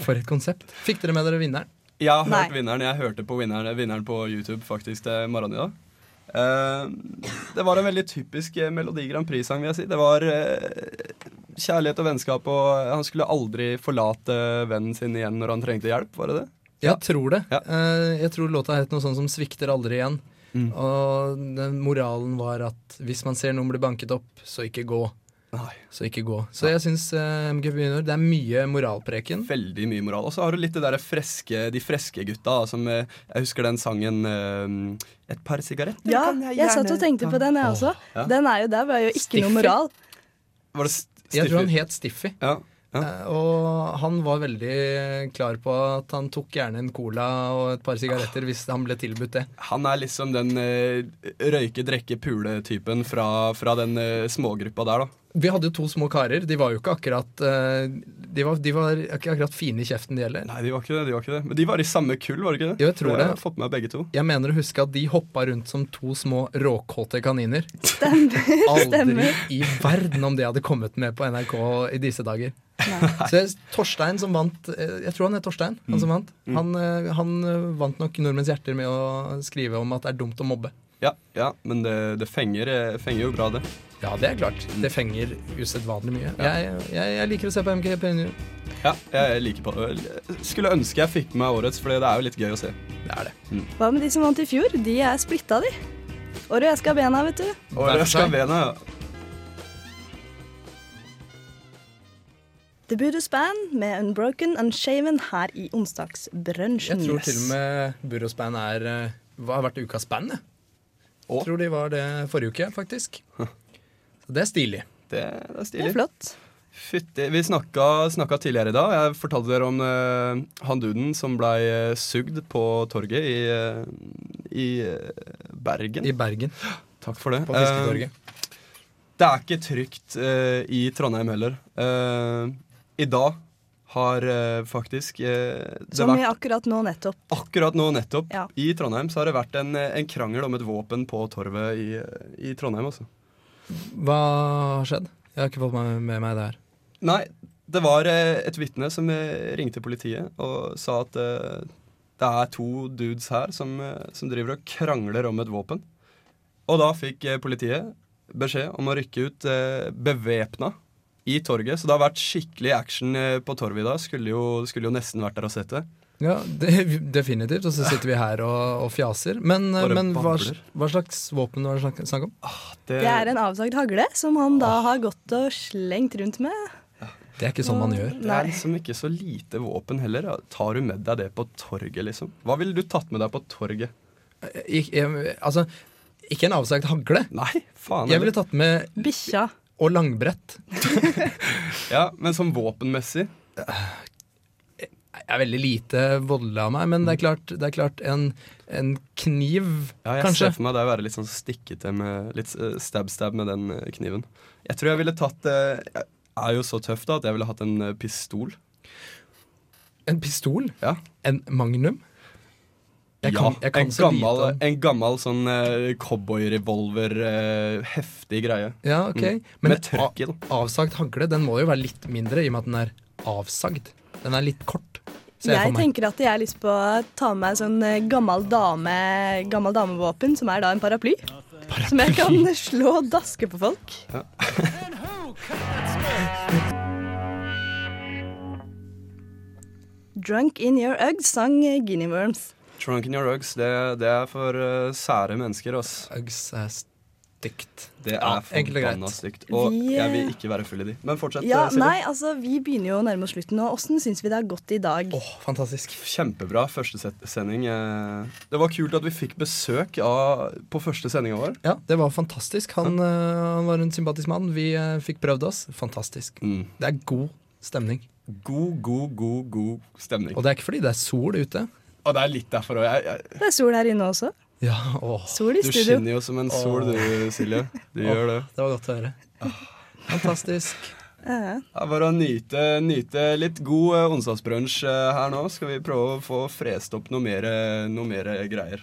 S4: For et konsept. Fikk dere med dere vinneren?
S7: Jeg har
S4: Nei.
S7: hørt vinneren. Jeg hørte på vinneren, vinneren på YouTube faktisk til morgenen i dag. Eh, det var en veldig typisk eh, Melodi Grand Prix-sang, vil jeg si. Det var eh, kjærlighet og vennskap, og eh, han skulle aldri forlate vennen sin igjen når han trengte hjelp, var det det?
S4: Jeg tror det. Eh, Jeg tror låta het noe sånt som 'Svikter aldri igjen'.
S7: Mm.
S4: Og den moralen var at hvis man ser noen bli banket opp, så ikke gå. Så ikke gå. Så jeg syns eh, MGP Junior Det er mye moralpreken.
S7: Veldig mye moral. Og så har du litt det der freske, de freske gutta da, som eh, Jeg husker den sangen eh, Et par sigaretter?
S6: Ja,
S7: kan
S6: jeg satt og tenkte på den, jeg også.
S7: Ja.
S6: Den er jo der, var jo ikke
S7: Stiffer.
S6: noe moral.
S7: Var det st-
S4: Jeg tror han
S7: Stiffer?
S4: het Stiffy.
S7: Ja.
S4: Eh, Og han var veldig klar på at han tok gjerne en cola og et par sigaretter hvis han ble tilbudt det.
S7: Han er liksom den eh, røyke, drekke, pule-typen fra, fra den eh, smågruppa der, da.
S4: Vi hadde jo to små karer. De var jo ikke akkurat eh, De var, de var ikke akkurat fine i kjeften, de heller.
S7: Nei, de var ikke det. de var ikke det Men de var i samme kull, var det ikke det?
S4: Jo, jeg tror
S7: For
S4: det.
S7: Jeg har fått med meg begge to.
S4: Jeg mener å huske at de hoppa rundt som to små råkåte kaniner. Aldri
S6: stemmer.
S4: i verden om det hadde kommet med på NRK i disse dager. Så jeg- Torstein som vant eh, Jeg tror han het Torstein, han som vant. Han, eh, han eh, vant nok nordmenns hjerter med å skrive om at det er dumt å mobbe.
S7: Ja, ja men det, det fenger, eh, fenger jo bra, det.
S4: Ja, det er klart. Det fenger usedvanlig mye. Jeg, jeg, jeg liker å se på MGP Junior.
S7: Ja, jeg liker på Skulle ønske jeg fikk med meg årets, for det er jo litt gøy å se. Det er det. Mm.
S6: Hva med de som vant i fjor? De er splitta, de. Året jeg skal bena, vet du.
S7: Årets Gavena, ja.
S6: The Buddhist Band med Unbroken Unshaven her i onsdagsbrunsjen.
S4: Jeg tror til og med Burros band er eh, Hva har vært ukas band? jeg. Jeg tror de var det forrige uke, faktisk. Så det er stilig.
S7: Det, er stilig.
S6: Det er flott.
S7: Fytti Vi snakka, snakka tidligere i dag. Jeg fortalte dere om eh, han duden som blei eh, sugd på torget i, eh, i eh, Bergen.
S4: I Bergen.
S7: Takk for det.
S4: På Fisketorget.
S7: Eh, det er ikke trygt eh, i Trondheim heller. Eh, I dag har eh, faktisk eh, det
S6: Som vi
S7: vært
S6: akkurat nå nettopp.
S7: Akkurat nå nettopp,
S6: Ja.
S7: i Trondheim, så har det vært en, eh, en krangel om et våpen på torvet i, i Trondheim, altså.
S4: Hva har skjedd? Jeg har ikke fått meg- med meg det her.
S7: Nei, det var eh, et vitne som eh, ringte politiet og sa at eh, det er to dudes her som, eh, som driver og krangler om et våpen. Og da fikk eh, politiet beskjed om å rykke ut eh, bevæpna i torget. Så det har vært skikkelig action eh, på torget i dag. Skulle jo, skulle jo nesten vært der og sett det.
S4: Ja, det, Definitivt. Og så sitter vi her og, og fjaser. Men, eh,
S7: Bare
S4: men hva,
S7: babler.
S4: hva slags våpen var det snakk- snakk om? Ah,
S7: Ah, Eh,
S6: Det er en avsagd hagle som han da har gått og slengt rundt med.
S4: Det er ikke sånn man gjør.
S7: Det er liksom ikke så lite våpen heller. ja. Tar du med deg det på torget, liksom? Hva ville du tatt med deg på torget?
S4: Ik, eh, altså, ikke en avsagt hagle.
S7: Nei, faen
S4: Jeg ville tatt med
S6: Bikkja.
S4: Og langbrett.
S7: Ja, men som våpenmessig?
S4: Jeg er veldig lite voldelig av meg, men det er klart, det er klart en, en kniv,
S7: Mm. Ja, jeg
S4: kanskje.
S7: ser for meg det å være litt sånn stikkete med litt eh, stab-stab med den eh, kniven. Jeg tror jeg ville tatt eh, jeg- er jo så tøff da at jeg ville hatt en eh, pistol.
S4: En pistol? En magnum? Jeg
S7: ja,
S4: kan- jeg kan
S7: en,
S4: så lite
S7: gammel,
S4: om-
S7: en gammel sånn eh, cowboyrevolver, eh, heftig greie.
S4: Ja, ok.
S7: Mm.
S4: Men
S7: Med trøkk i, da.
S4: a- avsagd hagle, den må jo være litt mindre i og med at den er avsagd. Den er litt kort. ser for
S6: Jeg
S4: meg.
S6: tenker at jeg har lyst på å ta med en sånn eh, gammel, dame, gammel damevåpen, som er da en paraply. Som jeg kan [LAUGHS] slå og daske på folk. Drunk in your uggs sang eh, Guinea Worms.
S7: Trunk in your rugs, det, det er for eh, sære mennesker, ass. Uggs er stygt. Det
S4: Ja,
S7: er
S4: enkelt og
S7: forbanna
S4: greit.
S7: stygt. Og
S6: Vi,
S7: jeg
S6: eh,
S7: vil ikke være full i de. Men fortsett,
S6: Ja,
S7: eh, Silje.
S6: nei, altså, vi begynner jo å nærme oss slutten nå. Åssen syns vi det har gått i dag?
S4: Fantastisk.
S7: Kjempebra første set- sending. eh. Det var kult at vi fikk besøk av, på første sendinga vår.
S4: Ja, det var fantastisk. Han, øh, han var en sympatisk mann. Vi øh, fikk prøvd oss. Fantastisk.
S7: Mm.
S4: Det er god stemning.
S7: God, god, god, god stemning.
S4: Og det er ikke fordi det er sol ute.
S7: Og det er litt derfor òg. Jeg, jeg,
S6: Det er sol her inne også.
S4: Ja, åh.
S6: Sol i
S7: Du
S6: studio.
S7: skinner jo som en sol,
S4: Åh.
S7: du, Silje. Du
S4: Åh,
S7: gjør det.
S4: Det var godt å høre. Fantastisk.
S6: Ja.
S7: Det er bare å nyte, nyte litt god eh, onsdagsbrunsj eh, her nå. Skal vi prøve å få frest opp noe mer, eh, noe mer eh, greier.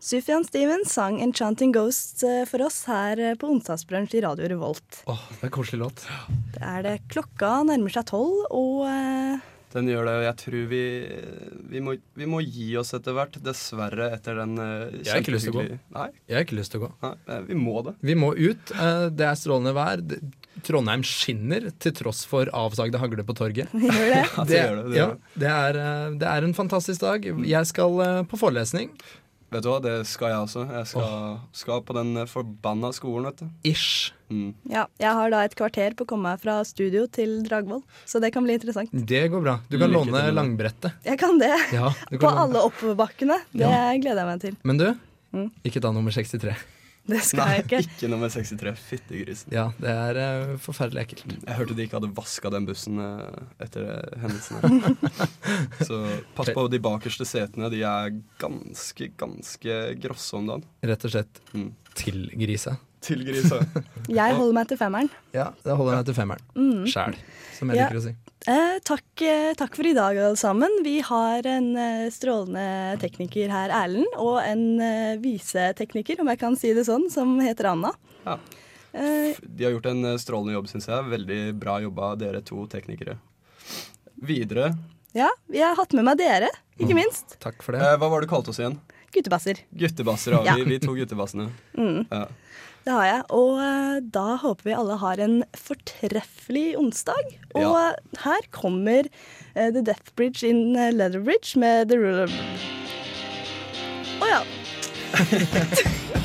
S6: Sufjan Stevens sang 'Enchanting Ghosts' eh, for oss her eh, på onsdagsbrunsj i Radio Revolt.
S4: Åh, det er en koselig låt.
S6: Det er det klokka nærmer seg tolv, og eh, [LAUGHS]
S7: Den gjør det, og jeg tror vi, vi, må, vi må gi oss etter hvert, dessverre, etter den uh,
S4: Jeg har ikke lyst til å gå.
S7: Nei,
S4: Jeg har ikke lyst til å gå.
S7: eh, vi må det.
S4: Vi må ut. eh, Det er strålende vær. Det- Trondheim skinner til tross for avsagde hagler på torget.
S7: gjør
S4: [LAUGHS]
S7: det.
S4: Det,
S7: Ja, det gjør det, det
S4: ja,
S7: gjør
S4: det, er, eh, det er en fantastisk dag. Jeg skal eh, på forelesning.
S7: Vet du hva, det skal jeg også. Jeg skal, skal på den eh, forbanna skolen, vet du.
S4: Ish.
S7: Mm.
S6: ja, jeg har da et kvarter på å komme meg fra studio til Dragvoll, så det kan bli interessant.
S4: Det går bra. Du kan
S7: Lykke til
S4: låne
S7: med det.
S4: langbrettet.
S6: Jeg kan det.
S4: [LAUGHS] Ja, du
S6: På
S4: kan låne.
S6: alle oppoverbakkene. Det
S4: Ja.
S6: gleder jeg meg til.
S4: Men du,
S6: Mm.
S4: ikke ta nummer 63.
S6: Det skal
S7: Nei,
S6: jeg ikke.
S7: ikke nummer 63. Fyttegrisen.
S4: Ja, det er eh, forferdelig ekkelt.
S7: Jeg hørte de ikke hadde vaska den bussen eh, etter eh, hendelsen
S6: [LAUGHS]
S7: her. Så pass på de bakerste setene. De er ganske, ganske grosse om dagen.
S4: Rett og slett
S7: Mm.
S4: til grisa.
S7: Til grisa.
S6: Jeg holder meg til femmeren.
S4: Ja, da holder jeg meg til femmeren.
S6: Mm.
S4: Sjæl, som jeg
S6: Ja.
S4: liker å si.
S6: Eh, takk, eh, takk for i dag, alle sammen. Vi har en eh, strålende tekniker her, Erlend, og en eh, visetekniker, om jeg kan si det sånn, som heter Anna.
S7: [LAUGHS] Ja.
S6: Eh,
S7: De har gjort en eh, strålende jobb, syns jeg. Veldig bra jobba, dere to teknikere. Videre
S6: ja, jeg har hatt med meg dere, ikke minst.
S4: Takk for
S7: det. Eh, hva var det du kalte oss igjen?
S6: Guttebasser.
S7: Guttebasser, ja.
S6: Ja.
S7: Vi, vi to guttebassene.
S6: Mm.
S7: Ja.
S6: Det har jeg. Og eh, da håper vi alle har en fortreffelig onsdag. Og
S7: Ja.
S6: eh, her kommer eh, The Death Bridge in eh, Leather Bridge med The Ruler Å ja.